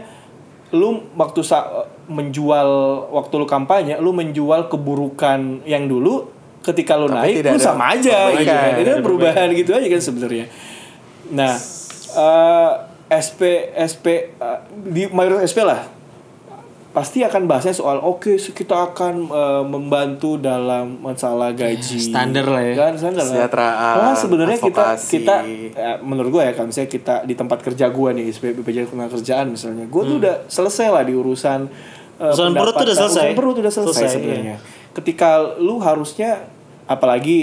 C: lu waktu sa- menjual waktu lu kampanye, lu menjual keburukan yang dulu ketika lu
A: Tapi
C: naik
A: tidak
C: lu
A: ada Iya.
C: sama aja gitu
A: perbaikan,
C: kan. Itu
A: tidak
C: perubahan, gitu aja kan sebenarnya. Nah, eh, SP SP eh, di mayoritas SP lah pasti akan bahasnya soal oke kita akan eh, membantu dalam masalah gaji
B: standar lah ya.
C: kan standar lah.
A: Kesejahteraan,
C: Malah sebenarnya kita
A: advokasi.
C: kita eh, menurut gue ya kalau misalnya kita di tempat kerja gue nih SPP BPJS Ketenagakerjaan kerjaan misalnya gue tuh udah selesai lah di urusan eh,
B: Hmm. Urusan perut tuh udah
C: pendapatan.
B: selesai.
C: urusan perut udah selesai,
B: Selesai
C: sebenarnya ketika lu harusnya apalagi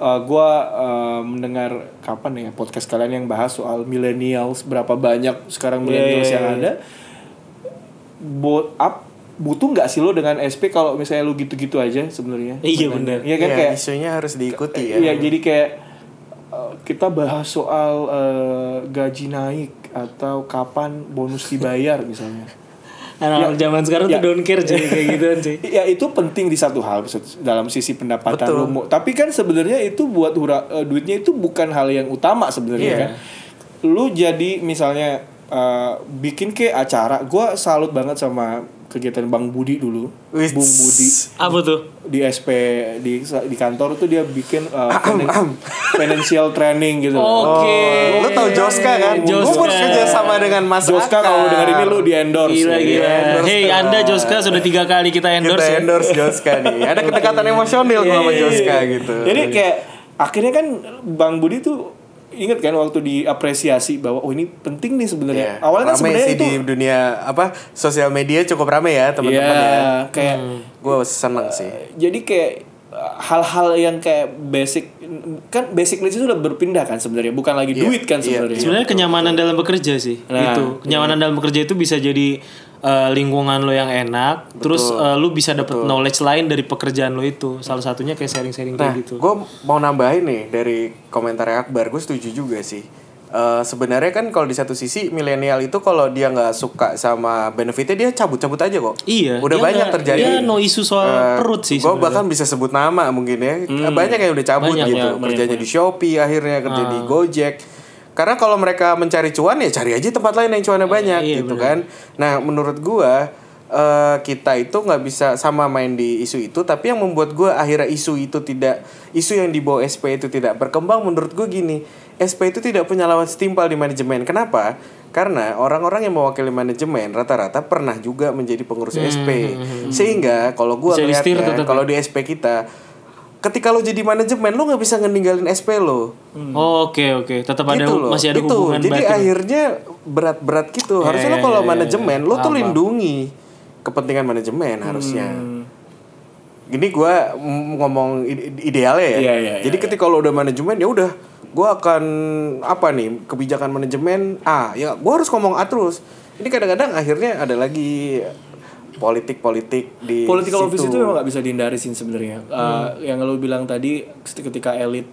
C: eh, gue eh, mendengar kapan ya podcast kalian yang bahas soal millennials berapa banyak sekarang millennials yang ada buat up butuh nggak sih lo dengan SP kalau misalnya lu gitu-gitu aja sebenarnya
B: Iya, bener.
C: Iya kan
A: Iya,
C: kayak
A: isunya harus diikuti ya.
C: Iya, jadi kayak uh, kita bahas soal uh, gaji naik atau kapan bonus dibayar misalnya.
A: Ya.
B: Anak-anak zaman sekarang tuh don't care jadi kayak gitu, gituan sih.
C: Ya itu penting di satu hal maksud- dalam sisi pendapatan
A: Betul.
C: lu mau- Tapi kan sebenarnya itu buat hura- eh, duitnya itu bukan hal yang utama sebenarnya
A: Iya.
C: kan. Lu jadi misalnya eh, bikin kayak acara, gua salut banget sama kegiatan Bang Budi dulu.
A: Wits.
C: Bung Budi
B: Apa tuh?
C: di SP di di kantor tuh dia bikin eh, finan- financial training gitu. loh.
B: Oke.
A: Lu tau Joska kan? Gue
B: Joska.
A: pun kerja Oh, sama dengan Mas
C: Joska
A: Akar.
C: kalau dengar ini lu di endorse.
B: Gila gila.
A: endorse
B: Hey,
A: dong.
B: Anda Joska sudah tiga kali kita endorse.
A: Kita
B: ya.
A: endorse Joska nih. Ada
C: Iya,
A: kedekatan emosional gue sama Joska gitu.
C: Jadi kayak akhirnya kan Bang Budi tuh inget kan waktu diapresiasi bahwa oh ini penting nih sebenarnya.
A: Iya.
C: Awalnya kan
A: Ramai
C: sebenarnya
A: sih
C: itu
A: di dunia apa sosial media cukup rame ya
C: Iya,
A: teman-teman ya.
C: kayak
A: Gue seneng sih.
C: jadi kayak uh, hal-hal yang kayak basic kan basic needs itu udah berpindah kan sebenarnya bukan lagi duit kan
A: iya,
C: sebenarnya.
B: Sebenarnya kenyamanan dalam bekerja sih.
C: Nah,
B: itu kenyamanan dalam bekerja itu bisa jadi eh, lingkungan lo yang enak, terus eh, lu bisa dapet knowledge lain dari pekerjaan lo itu. Salah satunya kayak sharing-sharing
A: Nah,
B: kayak gitu.
A: gue mau nambahin nih dari komentar Akbar, gue setuju juga sih. Eh, sebenarnya kan kalau di satu sisi milenial itu kalau dia nggak suka sama benefitnya dia cabut-cabut aja kok.
B: Iya,
A: Udah
B: dia
A: banyak
B: nggak-
A: terjadi.
B: dia no issue Nah, soal perut sih
A: Gue Eh,
B: sebenarnya. Hmm.
A: bahkan bisa sebut nama mungkin ya. Banyak yang udah cabut
B: Banyak, ya,
A: gitu.
B: banyak, Ah.
A: Kerjanya di Shopee akhirnya kerja di Gojek. Karena kalau mereka mencari cuan ya cari aja tempat lain yang cuannya
B: Iya,
A: banyak gitu kan. Nah, menurut gua eh, kita itu nggak bisa sama main di isu itu tapi yang membuat gua akhirnya isu itu tidak isu yang dibawa SP itu tidak berkembang menurut gue gini SP itu tidak punya lawan setimpal di manajemen kenapa karena orang-orang yang mewakili manajemen rata-rata pernah juga menjadi pengurus SP sehingga kalau gua
B: Bisa di-steer
A: lihat
B: tetap.
A: kalau di SP kita ketika lo jadi manajemen lo nggak bisa ngeninggalin SP lo
B: Oh, Oke oke, tetap ada
A: gitu loh.
B: masih ada
A: Itu.
B: hubungan
A: Jadi
B: batin.
A: akhirnya berat-berat gitu. harusnya
B: ya,
A: lo kalau
B: ya, ya,
A: manajemen lo tuh lindungi kepentingan manajemen harusnya. Gini gua mm, ngomong ide- idealnya ya.
C: Iya, iya,
A: Jadi ketika lo udah manajemen ya udah gua akan apa nih kebijakan manajemen A ya gua harus ngomong A terus. Ini kadang-kadang akhirnya ada lagi politik-politik di
C: political
A: situ. Hmm.
C: office itu memang nggak bisa dihindari sih sebenarnya. Eh, yang lo bilang tadi ketika elit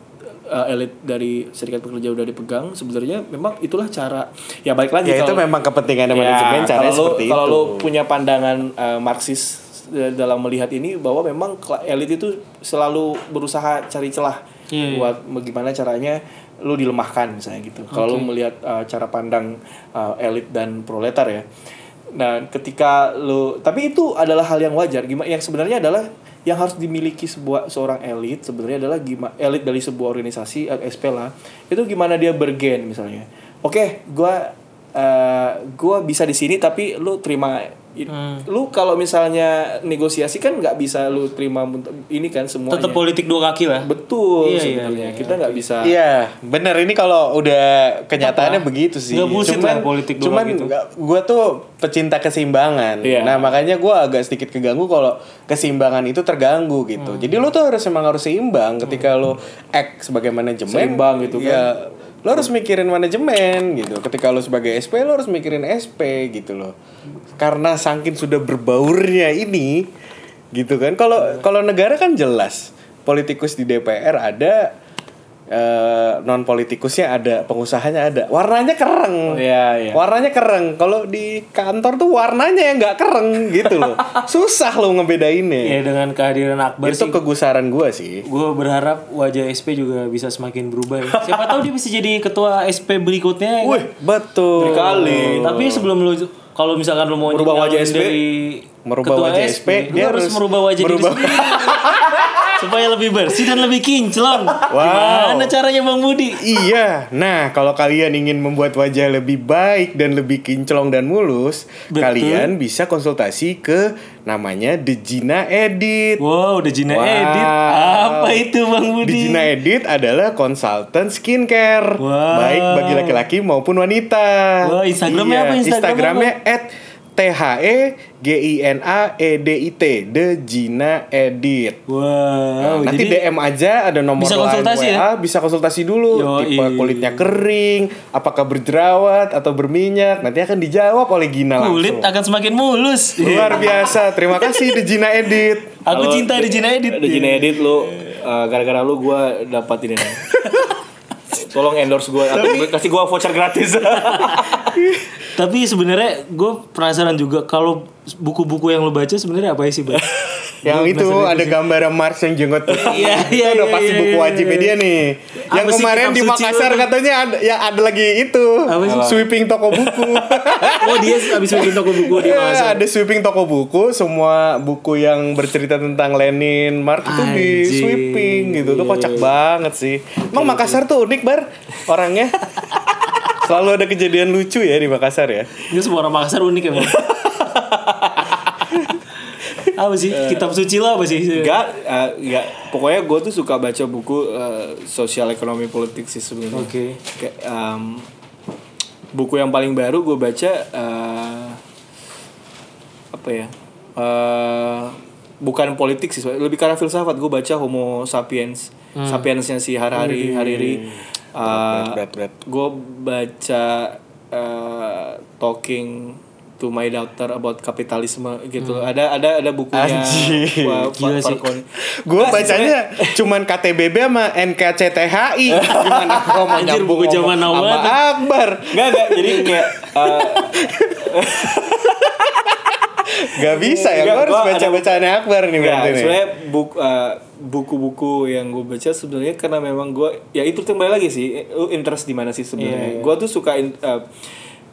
C: eh, elit dari serikat pekerja udah dipegang, sebenarnya memang itulah cara ya balik lagi
A: ya itu
C: kalau-
A: memang kepentingan manajemen
C: Ya,
A: caranya
C: kalau lu-
A: seperti
C: kalau
A: itu.
C: lu punya pandangan eh, Marxis eh, dalam melihat ini bahwa memang kela- elit itu selalu berusaha cari celah buat bagaimana caranya lu dilemahkan misalnya gitu. Kalau lu melihat eh, cara pandang eh, elit dan proletar ya. Nah, ketika lu tapi itu adalah hal yang wajar. Gimana yang sebenarnya adalah yang harus dimiliki sebuah seorang elit sebenarnya adalah gimana elit dari sebuah organisasi eh, SP lah. Itu gimana dia bergen misalnya. Oke, gua eh gue bisa di sini tapi lu terima i-
B: Hmm.
C: lu kalau misalnya negosiasi kan nggak bisa lu terima munt- ini kan semuanya
B: Tetap politik dua kaki lah. Iya,
C: betul
B: iya,
C: sebenarnya kita nggak bisa
A: Iya, bener ini kalau udah kenyataannya begitu sih.
B: Nggak bullshit
A: cuman,
B: lah politik doang
A: cuman
B: gitu.
A: gue tuh pecinta keseimbangan.
C: Iya.
A: Nah makanya gue agak sedikit keganggu kalau keseimbangan itu terganggu
C: Hmm.
A: gitu. Jadi lo tuh harus emang harus seimbang ketika lo act sebagai manajemen.
C: Seimbang gitu kan.
A: ya, Lo harus mikirin manajemen gitu. Ketika lo sebagai SP lo harus mikirin SP gitu loh. Karena saking sudah berbaurnya ini gitu kan. Kalau
C: Iya.
A: kalau negara kan jelas politikus di DPR ada non politikusnya ada, pengusahanya ada. Warnanya kereng.
C: Iya, iya.
A: Warnanya kereng. Kalau di kantor tuh warnanya yang nggak kereng gitu loh. Susah lo
C: Iya,
A: ngebedainnya.
B: Ya dengan kehadiran Akbar
A: Itu
B: sih,
A: kegusaran gua sih.
B: gue berharap wajah SP juga bisa semakin berubah. Ya. Siapa tahu dia bisa jadi ketua SP berikutnya. ya kan?
A: Wih, betul.
C: Berkali.
B: Tapi sebelum lu kalau misalkan lu mau
C: Merubah wajah
B: nyalonin
C: SP?
B: dari
A: Merubah
B: ketua
A: wajah
B: SP,
A: SP,
B: lu
A: dia
B: harus
A: harus
B: merubah wajah diri
A: merubah-
B: sendiri. supaya lebih bersih dan lebih kinclong.
A: Wow.
B: Gimana caranya Bang Budi?
A: Iya, nah kalau kalian ingin membuat wajah lebih baik dan lebih kinclong dan mulus,
B: Betul.
A: kalian bisa konsultasi ke namanya Dejina Edit.
B: Wow, udah Jina
A: Wow.
B: Nah, edit. Apa itu Bang Budi?
A: Dejina Edit adalah konsultan skincare,
B: Wow.
A: baik bagi laki-laki maupun wanita. Iya,
B: Wow, Instagramnya apa? Instagramnya
A: Instagramnya E @theginaedit, Dejina Edit.
B: Wow,
A: Nanti
B: Oh, jadi
A: DM aja ada nomor
B: Bisa
A: line
B: konsultasi
A: WA,
B: ya? iya.
A: bisa konsultasi dulu.
B: Yoi.
A: Tipe kulitnya kering, apakah berjerawat atau berminyak. Nanti akan dijawab oleh Gina langsung.
B: kulit
A: Iya.
B: akan semakin mulus.
A: Luar biasa. Terima kasih Dejina Edit.
B: Aku cinta di Jina edit. Iya.
C: Ada Gina Edit lu eh, gara-gara lu gua dapat ini. nih. Tolong endorse gua atau kasih gua voucher gratis.
B: Tapi sebenarnya gue penasaran juga kalau buku-buku yang lo baca sebenarnya apa sih, Bang?
A: Yang itu ada gambaran Mars yang jenggot putih.
B: Iya, iya,
A: Itu udah
B: iya,
A: pasti
B: iya,
A: buku
B: iya.
A: wajib dia nih.
B: Apa
A: Yang
B: sih
A: kemarin
B: kitab
A: di
B: suci
A: Makassar
B: lu?
A: katanya ada, ya ada lagi itu.
B: Apa sih?
A: Sweeping toko buku.
B: oh dia habis bikin toko buku
A: Iya, ada sweeping toko buku, semua buku yang bercerita tentang Lenin, Marx itu di
B: Anjing.
A: sweeping gitu. Tuh kocak banget sih. Emang Makassar tuh unik, Bar. Orangnya. Selalu ada kejadian lucu ya di Makassar ya.
B: Ini semua orang Makassar unik emang. apa sih? Kitab suci lah apa sih?
C: Enggak, eh, enggak. Pokoknya gue tuh suka baca buku eh, sosial ekonomi politik sih sebenarnya.
B: Oke.
C: Kayak, em, buku yang paling baru gue baca eh, apa ya? Eh, bukan politik sih, lebih karena filsafat. Gue baca Homo sapiens, sapiensnya si Harari, Hariri. Eh,
A: Berat, berat.
C: gue baca eh, talking to my daughter about kapitalisme gitu ada ada ada bukunya
A: Anjing.
B: Hmm.
C: Wa- Fa-
B: Gila sih.
C: Falcone.
A: Gue bacanya cuman KTBB sama NKCTHI. Gimana gua mau
B: Anjir,
A: nyambung
B: buku zaman now
A: sama
B: banget.
A: Akbar.
C: Enggak enggak jadi kayak eh,
A: Gak bisa ya,
C: Enggak,
A: gua harus
C: gua ada-
A: baca-bacaan Akbar nih
C: enggak,
A: berarti nih.
C: Ya, sebenarnya buku eh, buku-buku yang gue baca sebenarnya karena memang gue ya itu kembali lagi sih eh, lu interest di mana sih
A: Iya,
C: sebenarnya gue tuh suka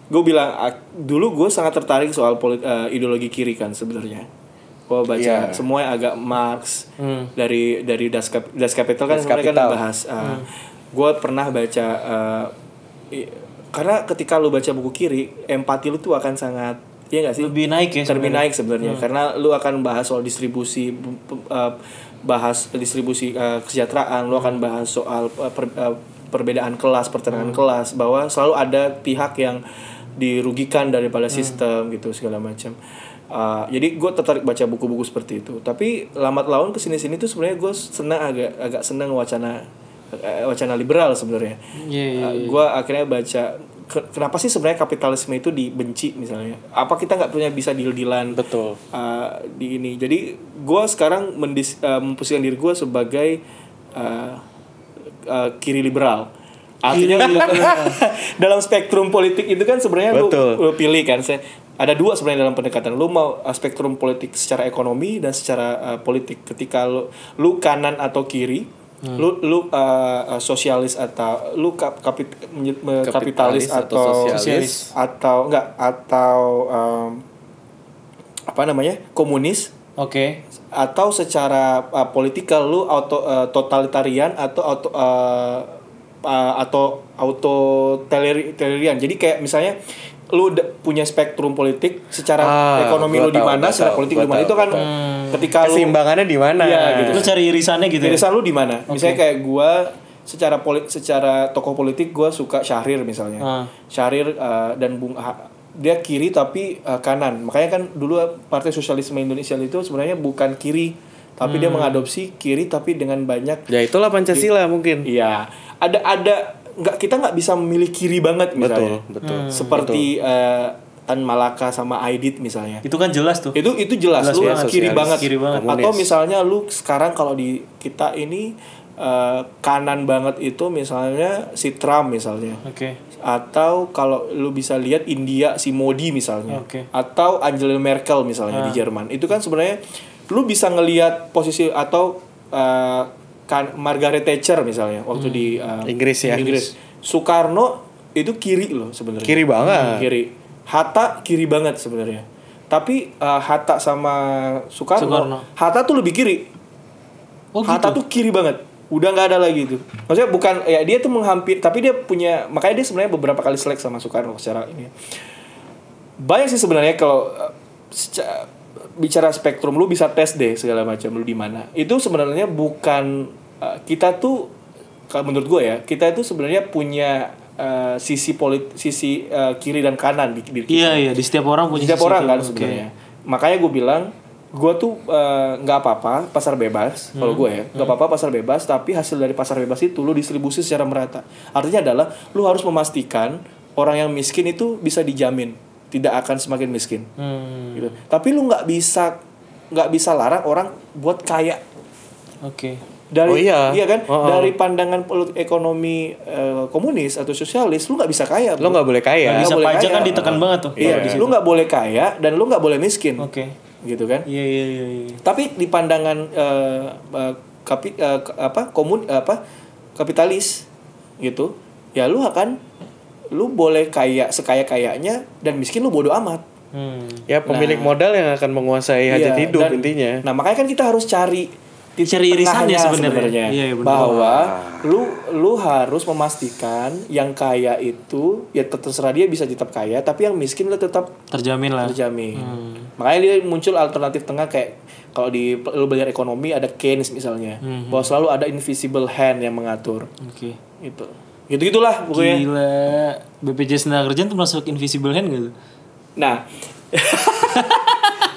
C: gue bilang ah, dulu gue sangat tertarik soal polit- eh, ideologi kiri kan sebenarnya gue baca
A: Iya. Hmm.
C: semua yang agak Marx dari dari das Cap- das capital kan
A: Das Hmm.
C: sebenarnya
A: Kapital.
C: kan bahas gue pernah baca eh, i- karena ketika lu baca buku kiri empati lu tuh akan sangat Iya gak sih?
B: Lebih naik ya
C: Termin naik sebenarnya karena lu akan bahas soal distribusi bu- bu- uh, bahas distribusi uh, kesejahteraan, lu akan bahas soal uh, per- uh, perbedaan kelas, pertengahan kelas bahwa selalu ada pihak yang dirugikan daripada sistem gitu segala macam. Uh, jadi gue tertarik baca buku-buku seperti itu. Tapi lambat laun kesini-sini tuh sebenarnya gue senang agak agak senang wacana eh, wacana liberal sebenarnya.
B: Iya, iya,
C: Uh, gue akhirnya baca ke- kenapa sih sebenarnya kapitalisme itu dibenci misalnya apa kita nggak punya bisa deal dealan
A: Betul.
C: uh, di ini jadi gue sekarang mendis, uh, memposisikan diri gue sebagai uh, uh, kiri liberal artinya dalam spektrum politik itu kan sebenarnya lu,
A: Betul.
C: lu pilih kan saya ada dua sebenarnya dalam pendekatan lu mau uh, spektrum politik secara ekonomi dan secara uh, politik ketika lu lu kanan atau kiri
A: Hmm.
C: lu lu uh, uh, sosialis atau lu kap, kapit, menye- me-
A: Kapitalis
C: kapitalis,
A: atau
C: atau,
A: sosialis.
C: atau enggak atau um, apa namanya komunis
B: Oke.
C: atau secara uh, politikal lu auto uh, totalitarian atau auto uh, uh, atau auto totalitarian. Jadi kayak misalnya lu de- punya spektrum politik secara
A: Ah,
C: ekonomi
A: gua
C: lu di
A: tahu,
C: mana,
A: gua
C: secara
A: tahu,
C: politik
A: gua
C: lu di mana
A: tahu,
C: itu kan
A: gua
C: ketika lu
A: Keseimbangannya di mana?
C: Iya, gitu.
B: Lu cari irisannya gitu. ya?
C: Irisan lu di mana? Misalnya kayak gua secara polit secara tokoh politik gua suka Syahrir misalnya.
B: Ah.
C: Syahrir uh, dan Bung Ha- dia kiri tapi uh, kanan. Makanya kan dulu Partai Sosialisme Indonesia itu sebenarnya bukan kiri tapi dia
B: Hmm.
C: mengadopsi kiri tapi dengan banyak
A: Ya itulah Pancasila
B: Hmm.
A: mungkin.
C: iya ada ada nggak kita nggak bisa memilih kiri banget misalnya.
A: Betul, betul.
B: Hmm.
C: Seperti uh, Tan Malaka sama Aidit misalnya
B: Itu kan jelas tuh.
C: itu itu jelas,
B: Jelas
C: lu
B: banget. Sosialis.
C: kiri banget.
B: Kiri banget.
C: atau
A: Komunis.
C: misalnya lu sekarang kalau di kita ini eh, kanan banget itu misalnya si Trump misalnya
B: Oke.
C: atau kalau lu bisa lihat India si Modi misalnya
B: Oke. Ah.
C: atau Angela Merkel misalnya di Jerman itu kan sebenarnya lu bisa ngelihat posisi atau eh, kan Margaret Thatcher misalnya waktu
B: Hmm.
C: di eh,
A: Inggris ya.
C: Inggris Soekarno itu kiri loh sebenarnya
A: Kiri banget.
C: kiri Hatta kiri banget sebenarnya. Tapi eh, Hatta sama Soekarno,
B: Soekarno.
C: Hatta tuh lebih kiri.
B: Oh
C: Hatta tuh kiri banget. Udah nggak ada lagi itu. Maksudnya bukan ya dia tuh menghampir tapi dia punya makanya dia sebenarnya beberapa kali selek sama Soekarno secara ini. Banyak sih sebenarnya kalau eh, seca- bicara spektrum lu bisa tes deh segala macam lu di mana. Itu sebenarnya bukan eh, kita tuh kalau menurut gue ya, kita itu sebenarnya punya eh, sisi polit sisi eh, kiri dan kanan di, di
B: Iya iya di setiap orang punya
C: setiap
B: sisi
C: orang
B: itu.
C: kan
B: Oke.
C: sebenarnya makanya gue bilang gue tuh eh, nggak apa-apa pasar bebas kalau gue ya nggak apa-apa pasar bebas tapi hasil dari pasar bebas itu lu distribusi secara merata artinya adalah lu harus memastikan orang yang miskin itu bisa dijamin tidak akan semakin miskin
B: Hmm,
C: gitu. tapi lu nggak bisa nggak bisa larang orang buat kaya
B: Oke.
C: dari
A: Oh iya.
C: kan dari pandangan polit- ekonomi eh, komunis atau sosialis lu nggak bisa kaya
A: Lo
C: bro.
A: nggak boleh kaya.
B: Nggak bisa
C: boleh
B: pajak
C: kaya.
B: kan ditekan banget tuh.
C: Iya,
B: Di situ.
C: lu nggak boleh kaya dan lu nggak boleh miskin
B: Oke.
C: gitu kan
B: Iya iya iya. iya.
C: tapi di pandangan eh, eh, kapi, eh, k- apa komun apa kapitalis gitu ya lu akan lu boleh kaya sekaya kayanya dan miskin lu bodoh amat
B: Hmm.
A: Ya pemilik modal yang akan menguasai hajat
C: nah. Iya,
A: hidup
C: dan-
A: intinya.
C: nah makanya kan kita harus cari titik
B: Cari irisannya
C: tengahnya
B: sebenarnya. Iya, iya, benar.
C: bahwa lu lu harus memastikan yang kaya itu ya tet- terserah dia bisa tetap kaya tapi yang miskin lu tetap
B: Terjamin lah.
C: terjamin. Makanya dia muncul alternatif tengah kayak kalau di lu belajar ekonomi ada Keynes misalnya, bahwa selalu ada invisible hand yang mengatur
B: Oke.
C: gitu. Gitu gitulah pokoknya.
B: Gila. BPJS tenaga kerjaan tuh masuk invisible hand gitu.
C: Nah,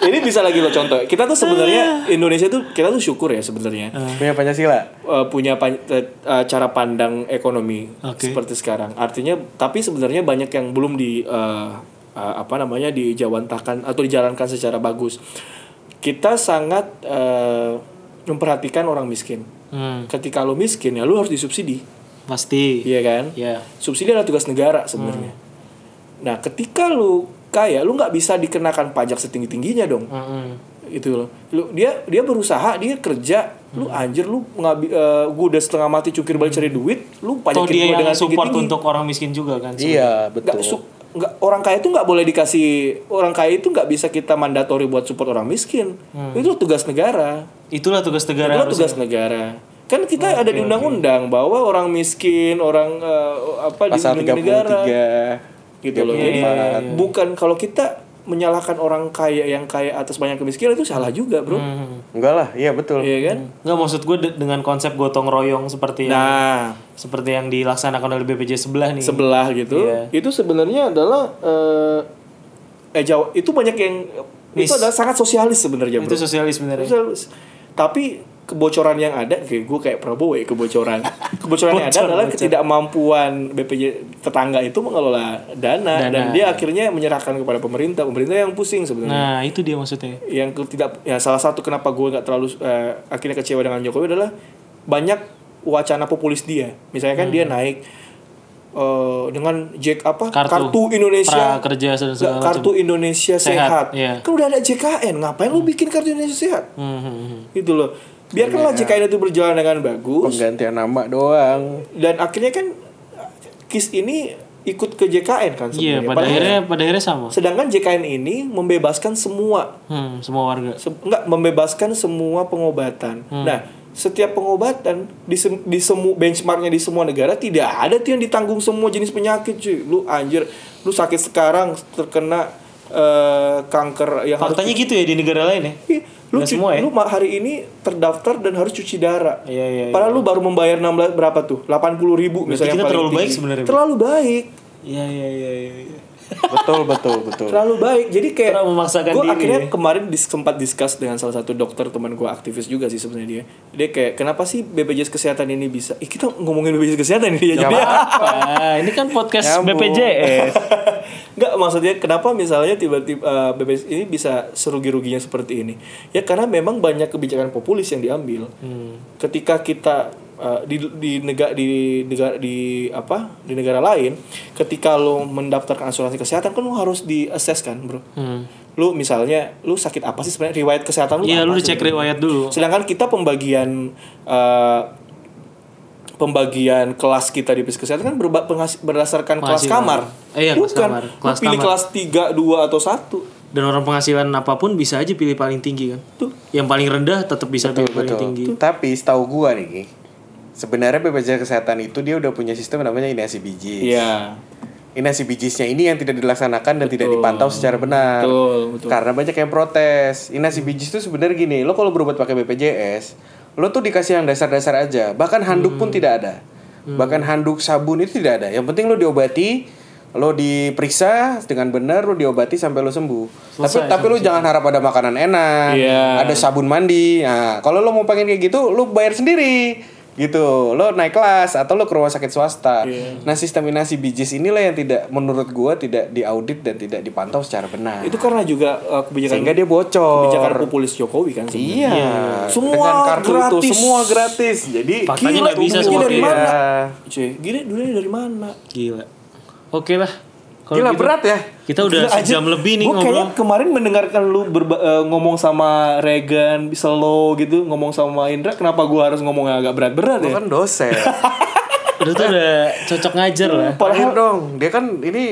C: ini bisa lagi lo contoh. Kita tuh sebenarnya Indonesia tuh kita tuh syukur ya sebenarnya.
A: Punya Pancasila.
C: eh, punya pan- eh, eh, cara pandang ekonomi
B: Oke.
C: seperti sekarang. Artinya tapi sebenarnya banyak yang belum di eh, eh, apa namanya dijawantahkan atau dijalankan secara bagus. Kita sangat eh, memperhatikan orang miskin.
B: Hmm.
C: Ketika lo miskin ya lo harus disubsidi,
B: Pasti.
C: iya kan?
B: Iya. Hmm.
C: Subsidi adalah tugas negara sebenarnya. Nah, ketika lu kaya, lu nggak bisa dikenakan pajak setinggi tingginya dong
B: Hmm.
C: itu Gitu loh lu dia dia berusaha dia kerja lu
B: Hmm.
C: anjir lu ngabi eh, gua udah setengah mati cukir balik cari duit lu
B: Atau
C: pajakin
B: Hmm. dia
C: gua
B: yang
C: dengan tinggi
B: support
C: tinggi
B: untuk orang miskin juga kan.
A: Iya betul.
C: nggak su- nggak- orang kaya itu nggak boleh dikasih orang kaya itu nggak bisa kita mandatori buat support orang miskin itu tugas negara
B: Itulah tugas Hmm. negara.
C: itu
B: harus-
C: tugas negara kan kita ada di undang-undang bahwa orang miskin orang eh, apa
A: Pasal
C: di negara
A: 33
C: gitu loh. Jadi bukan kalau kita menyalahkan orang kaya yang kaya atas banyak kemiskinan itu salah juga, Bro.
B: Hmm,
A: Enggak lah, iya betul.
C: Iya kan?
B: Mm-hmm. Nggak maksud gue de- dengan konsep gotong royong seperti yang
C: Nah,
B: seperti yang dilaksanakan oleh BPJS sebelah nih.
C: sebelah gitu
B: Iya.
C: itu sebenarnya adalah eh, eh Jawa itu banyak yang itu adalah sangat sosialis sebenarnya
B: itu
C: iya, bro
B: sosialis sebenarnya.
C: sosialis tapi kebocoran yang ada kayak gue kayak Prabowo ya kebocoran kebocoran yang ada adalah ketidakmampuan BPJ tetangga itu mengelola dana, dan dia akhirnya menyerahkan kepada pemerintah pemerintah yang pusing sebenarnya
B: Nah, itu dia maksudnya.
C: yang ke- tidak ya salah satu kenapa gue nggak terlalu eh, akhirnya kecewa dengan Jokowi adalah banyak wacana populis dia misalnya kan dia naik eh, dengan Jack apa
B: Hmm. Kartu.
C: Indonesia
B: Prakerja dan
C: nggak,
B: segala macam.
C: kartu Indonesia
B: Sehat,
C: sehat,
B: iya.
C: kan udah ada JKN ngapain lu bikin kartu Indonesia sehat
B: Hmm, hmm, hmm. Iya.
C: gitu loh biarkanlah JKN itu berjalan dengan bagus
A: Penggantian nama doang.
C: dan akhirnya kan KIS ini ikut ke JKN kan
B: Iya,
C: sebenarnya
B: pada
C: Padahal-
B: akhirnya pada akhirnya sama.
C: sedangkan JKN ini membebaskan semua
B: Hmm, semua warga.
C: Se- enggak membebaskan semua pengobatan.
B: Hmm.
C: Nah, setiap pengobatan di sem- di semu benchmarknya di semua negara tidak ada tuh yang ditanggung semua jenis penyakit cuy. Lu anjir, lu sakit sekarang terkena eh, kanker yang harus
B: Faktanya gitu ya di negara lain ya.
C: Ih,
B: Nggak
C: lu cu-
B: semua ya?
C: lu ma- hari ini terdaftar dan harus cuci darah.
B: Iya, iya, iya.
C: Padahal lu baru membayar 16 berapa tuh? 80 ribu
B: Berarti
C: misalnya
B: kita
C: paling
B: terlalu
C: tinggi.
B: baik sebenarnya, Bro.
C: Terlalu baik.
B: Iya, iya, iya, iya. iya.
A: betul, betul, betul.
C: terlalu baik jadi kayak
B: Terlalu memaksakan
C: gue
B: diri,
C: akhirnya
B: ya.
C: kemarin dis- sempat discuss dengan salah satu dokter teman gue aktivis juga sih sebenarnya dia dia kayak kenapa sih BPJS kesehatan ini bisa eh, kita ngomongin BPJS kesehatan ini ya jadi
B: Apa? ini kan podcast
A: Nyambung.
C: Eh.
B: BPJS.
C: nggak maksudnya kenapa misalnya tiba-tiba eh, BPJS ini bisa serugi-ruginya seperti ini ya karena memang banyak kebijakan populis yang diambil
B: Hmm.
C: ketika kita eh, di di negara di negara di apa di negara lain ketika lo mendaftarkan asuransi kesehatan kan lo harus di assess kan bro
B: Hmm.
C: lu misalnya lu sakit apa sih sebenarnya riwayat kesehatan lu
B: Iya,
C: apa
B: lu dicek
C: sebenarnya?
B: riwayat dulu.
C: sedangkan kita pembagian eh, pembagian kelas kita di kesehatan kan berba- penghas- berdasarkan kelas
B: Penghasilan.
C: kamar.
B: Eh, iya, kelas
C: Bukan.
B: kamar.
C: Lu
B: Kelas
C: pilih
B: kamar.
C: kelas 3, 2 atau 1.
B: Dan orang penghasilan apapun bisa aja pilih paling tinggi kan.
C: Tuh.
B: Yang paling rendah tetap bisa pilih paling tinggi.
A: Tapi setahu gua nih, Ki, sebenarnya BPJS kesehatan itu dia udah punya sistem namanya inasi biji.
C: Iya.
A: Inasi bijisnya ini yang tidak dilaksanakan dan tidak dipantau secara benar.
C: Betul, betul.
A: Karena banyak yang protes. Inasi bijis itu sebenarnya gini, lo kalau berobat pakai BPJS, lo tuh dikasih yang dasar-dasar aja. Bahkan handuk
C: Hmm.
A: pun tidak ada. Bahkan handuk sabun itu tidak ada. Yang penting lo diobati, lo diperiksa dengan benar, lo diobati sampai lo sembuh.
B: Selesai,
A: tapi tapi lo jangan harap ada makanan enak,
C: Iya.
A: ada sabun mandi. Nah, kalau lo mau pengen kayak gitu, lo bayar sendiri gitu lo naik kelas atau lo ke rumah sakit swasta
B: Iya.
A: nah sistem inasi bijis inilah yang tidak menurut gua tidak diaudit dan tidak dipantau secara benar
C: Itu karena juga uh, kebijakan
A: sehingga dia bocor
C: kebijakan populis Jokowi kan sebenarnya.
A: iya
C: Semua
A: dengan kartu
C: gratis.
A: itu semua gratis jadi
B: Faktanya
C: Gila,
B: nggak bisa
C: duitnya
B: seperti
C: dari
B: itu. Iya.
C: mana?
A: ya.
C: Cuy, gini duitnya dari mana?
B: Gila. Oke lah. Kalau
A: gila
B: gitu,
A: berat ya
B: Kita udah
C: Gila,
B: sejam
C: anjir.
B: lebih nih
C: Gua kayaknya
B: ngobrol.
C: kemarin mendengarkan lu berba- eh, ngomong sama Regan, slow gitu, ngomong sama Indra, kenapa gua harus ngomong yang agak berat-berat
A: lo
C: ya?
B: Iya.
A: kan dosen
B: Lu tuh udah cocok ngajar lah.
A: terakhir dong dia kan ini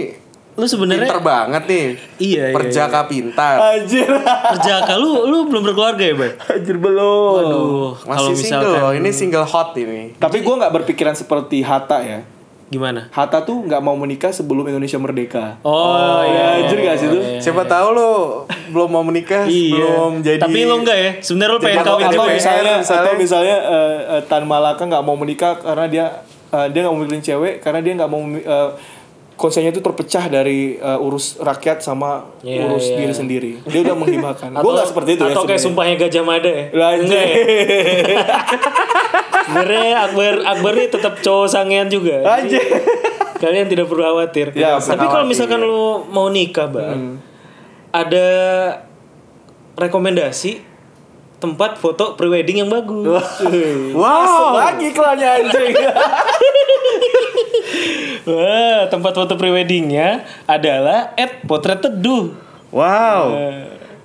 B: Lu sebenarnya
A: pinter banget nih
B: Iya, iya,
A: perjaka pintar
C: Anjir.
B: kerja lu lu belum berkeluarga ya, Bay?
C: Anjir belum.
B: Aduh, kalau
A: masih single
B: misalkan
A: ini single hot ini
C: Tapi gua nggak berpikiran seperti Hatta ya.
B: gimana?
C: Hatta tuh nggak mau menikah sebelum Indonesia merdeka.
B: Oh, iya.
C: ya, anjir nggak sih tuh?
A: Siapa tahu lo belum mau menikah, belum jadi.
B: iya. Tapi lo enggak ya? Sebenarnya lo pengen
A: jadi
B: kawin
A: apa-
C: Atau
A: DPR
B: juga ya?
C: misalnya,
A: misalnya.
C: atau misalnya eh, eh, Tan Malaka nggak mau menikah karena dia eh, dia nggak mau mikirin cewek karena dia nggak mau memi- eh, konsennya itu terpecah dari eh, urus rakyat sama
B: Iya,
C: urus
B: iya.
C: diri sendiri. Dia udah menghibahkan. Gue nggak seperti itu ya
B: Atau kayak
C: sebenarnya.
B: sumpahnya Gajah Mada ya?
C: Lah, iya.
B: Enggak ya?
C: anjir.
B: Sebenarnya Akbar Akbar ini tetap cowok sangean juga. Jadi
C: Anjir.
B: Kalian tidak perlu khawatir.
C: Ya,
B: Tapi kalau misalkan lu mau nikah, Bang. Ada rekomendasi tempat foto prewedding yang bagus.
C: Masuk lagi iklannya anjing.
B: Wah, tempat foto preweddingnya adalah at potret teduh.
A: Wow.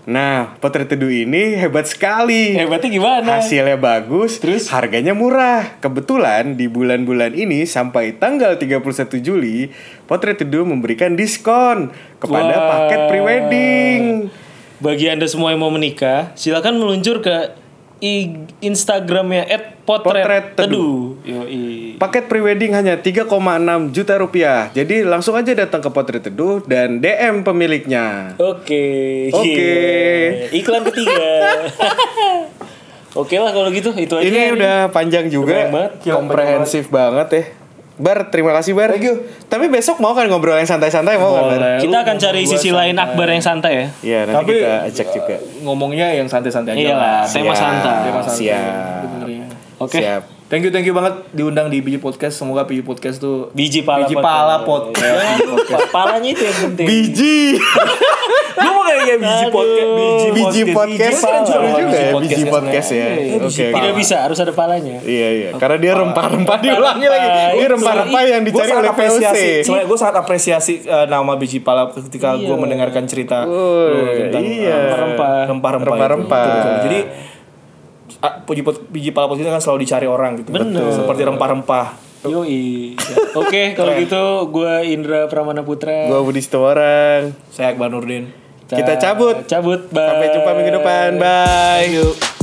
A: Nah, potret teduh ini hebat sekali.
B: Hebatnya gimana?
A: Hasilnya bagus, terus harganya murah. Kebetulan di bulan-bulan ini sampai tanggal 31 Juli, Potret Teduh memberikan diskon kepada
B: Wah.
A: paket prewedding.
B: Bagi anda semua yang mau menikah, silakan meluncur ke I- Instagramnya
A: Potret
B: @potret teduh.
A: Teduh.
B: Yoi.
A: Paket prewedding hanya 3,6 juta rupiah. Jadi langsung aja datang ke Potret Teduh dan DM pemiliknya.
B: Oke.
A: Oke.
B: gila. Iklan ketiga. Oke lah kalau gitu itu aja.
A: Iya, Ini udah panjang juga,
B: Keren banget.
A: komprehensif banget ya. Bar, terima kasih Bar. Tapi besok mau kan ngobrol yang santai-santai mau kan? Bar?
B: Kita akan cari sisi lain Akbar yang santai ya.
A: Iya, nanti
C: Tapi, eh,
A: kita cek juga.
C: Ngomongnya yang santai-santai aja
B: Iyalah,
C: lah.
A: Siap.
B: tema santai.
C: Tema santai.
A: Siap.
C: Sebenarnya.
B: Oke.
A: Siap.
C: Thank you, thank you banget diundang di Biji Podcast. Semoga Biji Podcast tuh
B: Biji pala
C: Biji
B: podcast.
C: pala podcast. Biji podcast.
B: Pa- Palanya itu yang penting.
A: Biji.
C: Gue mau kayak kayak biji
B: Aduh.
C: podcast, Iya, biji,
A: Biji podcast.
C: Gua
A: Seru
C: seru
A: juga ya, biji
C: ya
A: podcast ya.
C: sebenarnya. Iya, biji
A: Oke.
C: pala.
B: Tidak bisa, harus ada palanya.
A: Iya, iya. Karena dia rempah-rempah diulangi lagi. Ini rempah-rempah Iya, yang
C: Gua
A: dicari
C: sangat
A: oleh VOC.
C: apresiasi. Sebenarnya gue sangat apresiasi eh, nama biji pala ketika gue mendengarkan cerita
A: Woi,
C: lu tentang
A: iya.
C: eh, rempah-rempah, rempah-rempah. itu.
A: Rempah-rempah.
C: Betul, betul. Jadi ah, biji, pot- biji pala podcast kan selalu dicari orang gitu. Betul. Seperti rempah-rempah.
B: Yoi. Oke, kalau gitu gue Indra Pramana Putra.
A: Gua Budi Setowarang.
C: Saya Akbar Nurdin.
A: Kita cabut.
B: Cabut. Bye.
A: Sampai jumpa minggu depan. Bye.